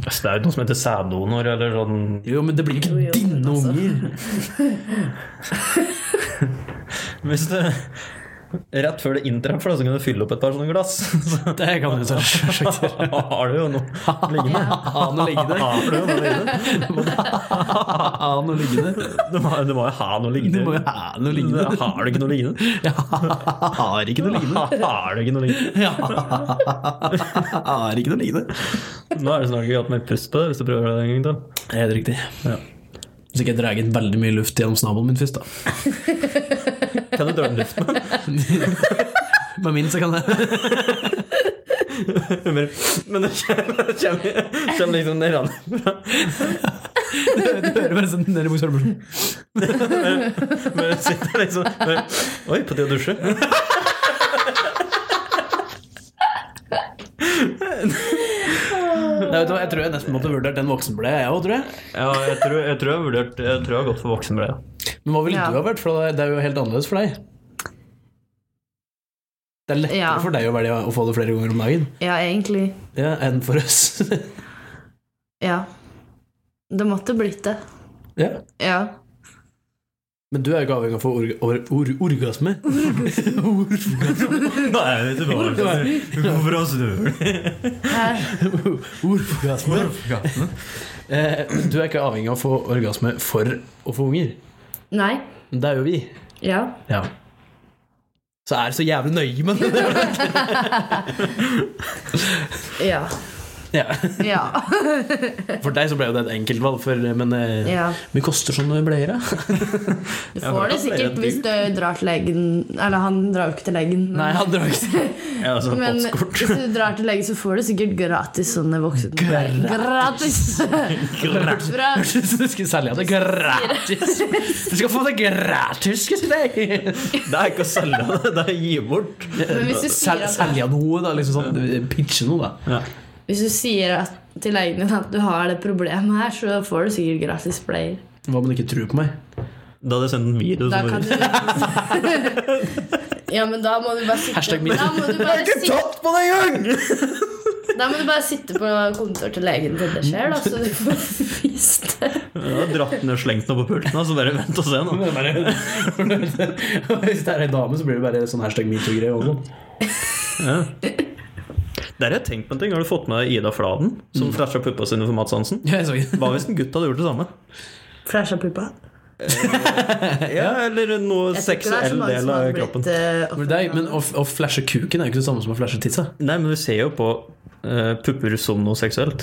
S1: Altså, det er jo noe som heter sæddonor, eller sånn
S2: Jo, men det blir ikke
S3: Jo, jo, men
S2: dine
S3: altså.
S2: unger.
S1: Hvis det Rett før det inntreffer, da, så kan du fylle opp et par sånne glass. Så
S2: Det kan jeg selvsagt gjøre.
S1: har du jo noe liggende.
S3: Ja.
S2: Han å ligge der.
S1: Har du jo noe liggende.
S2: Han å ligge der.
S1: Du må, du må jo ha noe
S2: Du
S1: liggende.
S2: må jo ha noe liggende.
S1: Har du ikke noe liggende?
S2: Jeg har ikke noe liggende.
S1: Har du ikke noe liggende?
S2: Jeg har ikke noe liggende.
S1: Nå er det snart ikke hatt mer pust på det, hvis du prøver det en gang til.
S2: Helt riktig.
S1: Ja.
S2: Hvis ikke jeg drar inn veldig mye luft gjennom snabelen min først, da.
S1: Kan du dra den luften?
S2: Med min så kan jeg
S1: Men men det kommer det kommer liksom ned an.
S2: Du hører bare sånn nede i buksa bare sånn.
S1: Men det sitter liksom men- Oi, på tide å dusje.
S2: Nei, vet du hva, Jeg tror jeg nesten måtte vurdert den voksenbleia, jeg òg, tror jeg.
S1: Ja, jeg tror jeg, tror jeg, har vurdert, jeg, tror jeg har gått for voksenbleia.
S2: Men hva ville
S3: Ja.
S2: du ha vært? For det er jo helt annerledes for deg. Det er lettere
S3: Ja.
S2: for deg å velge å få det flere ganger om dagen
S3: Ja, egentlig.
S2: ja, enn for oss.
S3: Ja. Det måtte blitt det.
S2: ja.
S3: Ja.
S2: Men du er jo ikke avhengig av å få orga, or, or, orgasme.
S1: Nei, vet du hva? Hvorfor oss, du?
S3: Hæ?
S2: orgasme. Eh, men du er ikke avhengig av å få orgasme for å få unger.
S3: Nei.
S2: Men Det er jo vi.
S3: Ja.
S2: Ja. Så er det så jævlig nøye med det.
S3: Ja.
S2: Ja.
S3: Ja.
S2: For deg så ble jo det et enkeltvalg, for, men eh,
S3: ja.
S2: mye koster sånne bleier, da?
S3: Du
S1: Jeg har hørt
S3: får det
S1: at det er
S3: sikkert
S1: dyrt.
S3: hvis du drar til legen Eller han drar jo ikke til legen. men-
S2: Nei, han drar ikke
S1: Ja, altså,
S3: Men
S1: postkort.
S3: hvis du drar til lege, så får du sikkert gratis sånne voksne
S2: Gratis.
S3: Gratis! Fra
S2: Du skulle selge det gratis! Du skal få det gratis, skulle jeg si!
S1: Det er ikke å selge det, det er å gi bort.
S3: Men hvis du sier
S2: Sel,
S3: at-
S2: selge noe, da. Liksom sånn, pitche noe, da.
S3: Hvis du sier at, til legen din at du har det problemet her, så får du sikkert gratis player.
S2: Hva om han ikke tror på meg?
S1: Da hadde jeg sendt en video
S3: Da
S1: som
S3: kan du Ja, men da må du bare sitte
S2: Hashtag min.
S3: Da må du bare sitte,
S1: tatt på det engang!
S3: da må du bare sitte på kontor til legen til det skjer, da, så du får vist det.
S1: Jeg har dratt ned og slengt noe på pulten, så bare vent og se nå.
S2: Men det er bare- Hvis det er ei dame, så blir det bare sånn hashtag metoo-greie. over noen.
S1: Ja. Der har jeg tenkt på en ting. Har du fått med deg Ida Fladen, som flasha puppa sine for Mads Hansen?
S2: Ja, jeg så ikke.
S1: Hva hvis en gutt hadde gjort det samme?
S3: Flasha puppa.
S1: Ja, Eller noe
S3: Jeg tror ikke det er så
S1: seksuell
S3: mange som
S1: del av
S3: hadde
S1: kroppen.
S3: blitt eh,
S2: Men, det er, men å, å flashe kuken er jo ikke det samme som å flashe tissa.
S1: Nei, men vi ser jo på eh, pupper som noe seksuelt.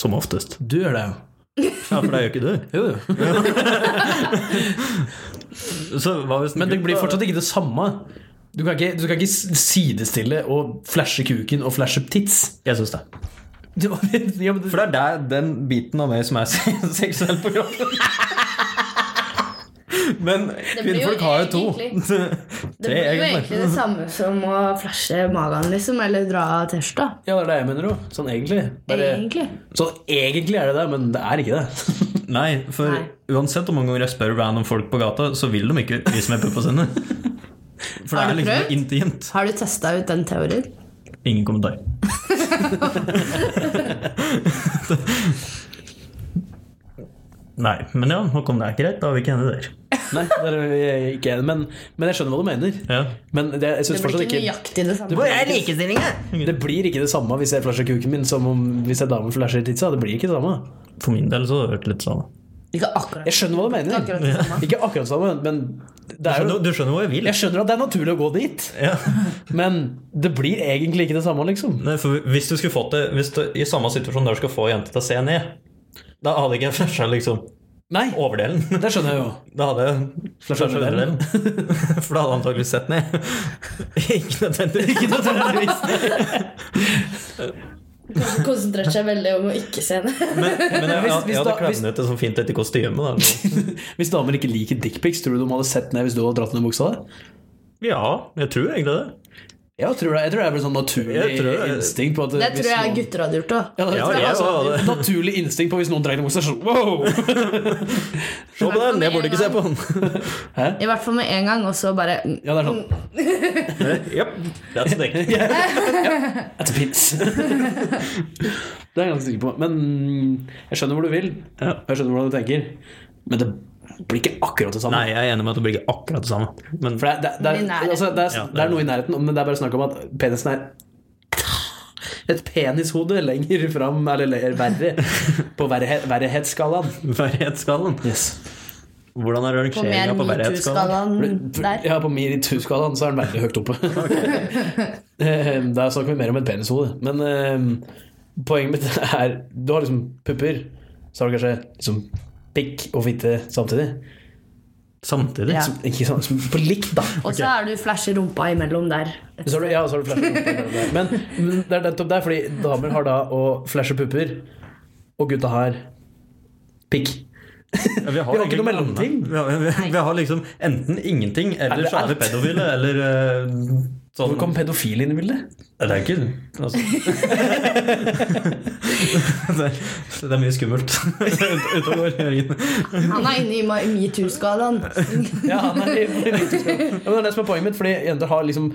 S1: Som oftest.
S2: Du gjør det,
S1: Ja, for det gjør ikke du.
S2: jo. jo.
S1: Så hva hvis en
S2: Men det
S1: gutt
S2: blir
S1: da-
S2: fortsatt ikke det samme. Du kan ikke, du kan ikke sidestille å flashe kuken og flashe tits.
S1: Jeg syns det.
S2: Det var- Ja, men det-
S1: For det er der den biten av meg som er se- seksuell på kroppen. Men
S3: blir jo
S1: kvinnfolk har jo to.
S3: Det
S1: Tre,
S3: blir jo
S1: egentlig.
S3: egentlig det samme som å flashe magen, liksom, eller dra T-skjorta.
S2: ja, det er det jeg mener òg. Sånn egentlig. Bare,
S3: Egentlig.
S2: sånn egentlig er det det, men det er ikke det.
S1: Nei, for
S3: Nei.
S1: uansett hvor mange ganger jeg spør random folk på gata, så vil de ikke vise meg puppa sine. For det
S3: Har
S1: er
S3: du
S1: liksom
S3: prøvd?
S1: noe intimt.
S3: Har du testa ut den teorien?
S1: Ingen kommentar. Nei, men ja, Håkon, det er greit. Da er vi ikke enige der.
S2: Nei, det er jeg ikke enig i, men, men jeg skjønner hva du mener.
S1: Ja.
S2: Men det, jeg synes
S3: Det blir
S2: fortsatt
S3: ikke
S2: ikke
S3: nøyaktig det samme.
S2: Hvor er
S3: likestillinga?
S2: Det blir ikke det samme hvis jeg flasher kuken min som om hvis en dame flasher titsa. Det blir ikke det samme.
S1: For min del så har det vært litt sånn.
S3: Ikke akkurat.
S2: Jeg skjønner hva du mener.
S3: Akkurat det samme.
S2: Ikke akkurat det samme, men det er jo
S1: du skjønner hvor jeg vil?
S2: Jeg skjønner at det er naturlig å gå dit,
S1: Ja.
S2: men det blir egentlig ikke det samme, liksom.
S1: Nei, for hvis du skulle fått det hvis du, I samme situasjon der du skal få jenta til å se ned, da hadde ikke jeg flasha liksom,
S2: Nei,
S1: overdelen.
S2: det skjønner jeg jo.
S1: Da hadde jeg
S2: Flasha
S1: flasha underdelen. For da hadde han antakelig sett ned. Ikke nødvendigvis.
S3: Konsentrert seg veldig om å ikke se henne.
S1: Men, men jeg,
S2: Hvis-
S1: jeg,
S2: hvis
S1: jeg hadde
S2: da-
S1: klemt
S2: hvis-
S1: ut det sånn fint etter kostymet. Da.
S2: Hvis damer ikke liker dickpics, tror du de hadde sett ned hvis du hadde dratt ned buksa der?
S1: Ja, jeg tror egentlig det.
S2: Ja, tror det, jeg tror det er vel sånn naturlig
S1: Jeg tror det er-
S2: instinkt på at
S3: Det
S2: hvis
S3: tror jeg
S2: noen-
S3: gutter hadde gjort òg.
S2: ja, det
S1: Ja,
S2: tror jeg,
S1: jeg
S2: altså,
S1: var det.
S2: Naturlig instinkt på hvis noen drar ned buksa. Sånn, wow!
S1: Se på den, jeg burde ikke se på den.
S3: I hvert fall med en gang, og så bare mm,
S2: Ja, det er sånn.
S1: Jepp. That's the thing.
S2: At det fins. det er jeg ganske sikker på. Men jeg skjønner hvor du vil,
S1: Ja.
S2: og jeg skjønner hvordan du tenker. Men det blir ikke akkurat det samme.
S1: Nei, jeg er enig med at det blir ikke akkurat det samme. Men
S2: For det, er- det, er-
S3: Men i
S2: det,
S3: nærheten.
S2: er- altså, det, er,
S1: Ja, det er
S2: det er noe i nærheten, men det er bare snakk om at penisen er et penishode lenger fram, eller le- verre, på verre- verrehetsskalaen.
S1: verdighetsskalaen
S2: Yes.
S1: Hvordan er
S3: På mer
S1: rangeringa på verdighetsskalaen?
S3: metoo-skalaen der.
S2: Ja, på metoo-skalaen så er den veldig høyt oppe. Eh, Der snakker vi mer om et penishode. Men eh, poenget mitt er Du har liksom pupper, så har du kanskje liksom pikk og fitte samtidig.
S1: Samtidig.
S3: Ja.
S2: Som, ikke sånn, som på likt, da.
S3: Og så er du flash i rumpa imellom der.
S2: Så har du, ja, så har du flashe pupper. mellom der. Men, men det er nettopp der, fordi damer har da å flashe pupper, og gutta har pikk.
S1: Ja, Vi
S2: har ikke noe mellomting.
S1: Vi har, vi, vi har liksom enten ingenting, eller så er vi pedofile, eller eh,
S2: Hvor
S1: Sånn,
S2: kom pedofil inn i bildet?
S1: det er ikke altså. det, er- det er mye skummelt Ut- ute og går, Jørgen.
S3: Han er inne i ma- metoo-skalaen.
S2: Ja, han er, ja, men det er det som er poenget mitt, fordi jenter har liksom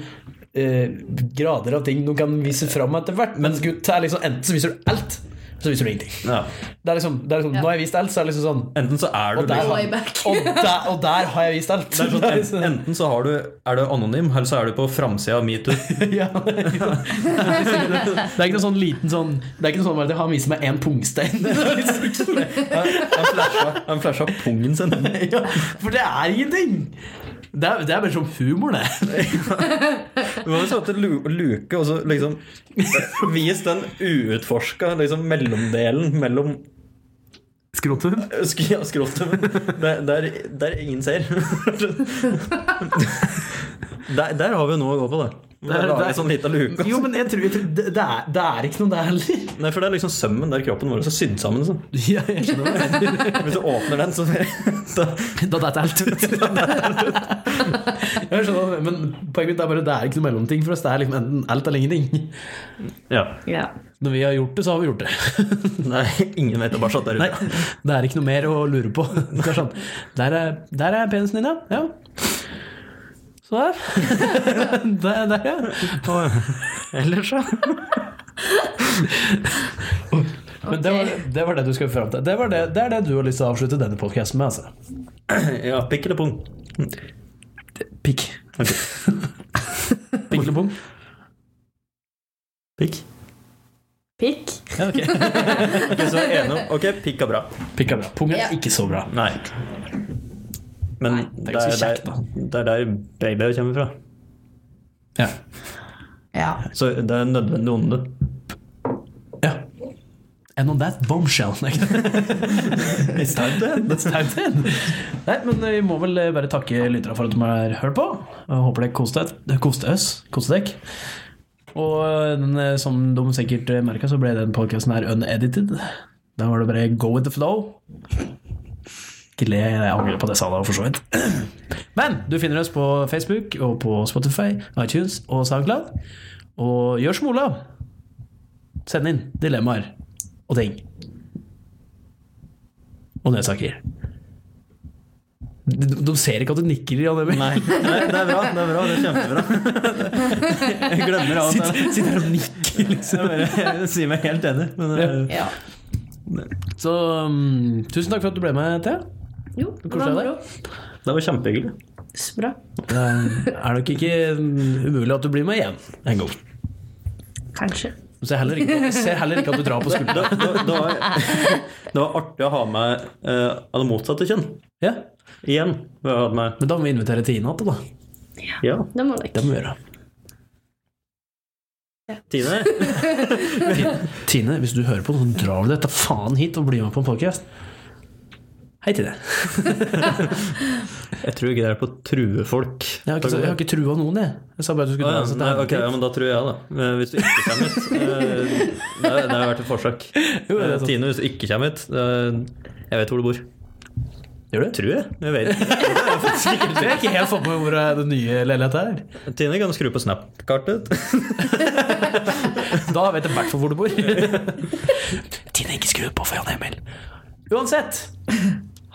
S2: eh, grader av ting de kan vise fram etter hvert. Mens gutt er liksom enten så viser du alt, så viser du ingenting.
S1: Ja.
S2: Det er liksom, det er liksom Nå har jeg vist alt, så er det liksom sånn
S1: Enten så er du
S2: Og der,
S1: liksom-
S3: Way back.
S2: og, der, og der har jeg vist alt. liksom-
S1: det er sånn, en- Enten så har du, er du anonym, eller så er du på framsida av metoo.
S2: Ja, det er ikke sånn- det er ikke noe sånn liten sånn Det er ikke noe sånn bare at jeg har vist meg én pungstein.
S1: Han han flasha- Han flasha pungen sin.
S2: Ja, for det er ingenting! Det er, det er bare som humor, det.
S1: Du må jo sette lu- luke og så liksom Vis den uutforska liksom, mellomdelen mellom
S2: Skrotum.
S1: sk- ja, skrotum der, der, der ingen ser. Der, der har vi jo noe å gå på, da.
S2: Der-
S1: Der har
S2: der-
S1: vi sånn liten luke.
S2: Jo, men jeg tror, jeg tror det, det, er, det er ikke noe der heller.
S1: Nei, for det er liksom sømmen der kroppen vår er så sydd sammen. Sånn.
S2: Ja, jeg skjønner det.
S1: Hvis du åpner den, så da,
S2: Da datt alt ut. Jeg skjønner, det, men poenget mitt er bare det er ikke noe mellomting for oss. Det er liksom enten alt eller ingenting.
S1: Ja.
S3: Ja.
S2: Når vi har gjort det, så har vi gjort det.
S1: Nei, ingen vet det, bare satt der
S2: Nei,
S1: ute.
S2: det er ikke noe mer å lure på. Det er sånn. Der er, der er penisen din, ja. ja. Så der. Der, der ja.
S1: Ellers, ja.
S2: Men det var, det var det du skulle fram til. Det, var det, det er det du har lyst til å avslutte denne podkasten med, altså.
S1: Ja, pikk eller pung?
S2: Pikk.
S1: Ok.
S2: Pikkelebong.
S1: Pikk.
S3: Pikk.
S2: Ja, ok.
S1: Ok, så er vi enige om Ok, pikk er bra.
S2: Pikk er bra. Pung er
S3: Ja.
S2: ikke så bra.
S1: Nei. Men
S2: Nei, det er
S1: det,
S2: ganske
S1: er
S2: kjekt,
S1: der, det er der babyer kommer fra.
S2: Ja.
S3: Ja.
S1: Så det er nødvendig onde.
S2: ja. And on that bombshell. Nei,
S1: It's time to end.
S2: that's time to end. Nei, men eh, vi må vel bare takke lytterne for at de har hørt på. Jeg håper dere koste dere. Koste oss. Koste dere. Og den, eh, som de sikkert merka, så ble den podkasten her unedited. Da var det bare go with the flow. Ikke le, jeg angrer på det jeg sa da, for så vidt. Men du finner oss på Facebook og på Spotify, iTunes og SoundCloud. Og gjør som Olav. Send inn dilemmaer og ting. Og nødsaker. De, de ser ikke at du nikker. Jan Emil.
S1: Nei, nei, det er bra. Det er bra, det er kjempebra. Jeg glemmer av at
S2: Sitter sitter her og nikker, liksom.
S1: jeg bare jeg sier meg helt enig. Men eh,
S3: ja.
S2: Så mm, tusen takk for at du ble med, Thea.
S3: Jo, det
S2: Koselig av
S3: var
S2: deg.
S3: moro.
S1: det var kjempehyggelig.
S3: Så bra.
S2: Det er nok ikke mm, umulig at du blir med igjen en gang.
S3: Kanskje.
S2: Du ser heller ikke, ser heller ikke at du drar på
S1: Det,
S2: skuldra.
S1: det, det, var, det var artig å ha med eh, av det motsatte kjønn
S2: Ja,
S1: igjen. Vi har hatt med
S2: men da må vi invitere Tina til, da.
S1: ja,
S3: Det må du
S2: Det
S3: ikke.
S2: må vi gjøre.
S1: Tine.
S2: Tine, hvis du hører på, så drar du dette faen hit og blir med på en podcast. Hei, Tine.
S1: Jeg tror ikke det er på å true folk.
S2: Jeg har ikke, jeg har ikke trua noen, jeg. Jeg sa bare at du skulle
S1: Å
S2: dra.
S1: ja,
S2: så
S1: nei,
S2: det
S1: ok, ja,
S2: er-
S1: men da tror jeg det. Eh, Hvis du ikke kommer ut. eh, Det er- det er verdt et forsøk.
S2: Jo, det er
S1: Eh,
S2: sant.
S1: Tine, hvis du ikke kommer ut eh, Jeg vet hvor du bor.
S2: Gjør du?
S1: Tror jeg. Jeg vet ikke.
S2: Jeg har ikke helt fått med hvor er den nye leiligheten er.
S1: Tine kan skru på Snap-kartet.
S2: Da vet jeg i hvert fall hvor du bor. Tine, ikke skru på for Jan Emil. Uansett,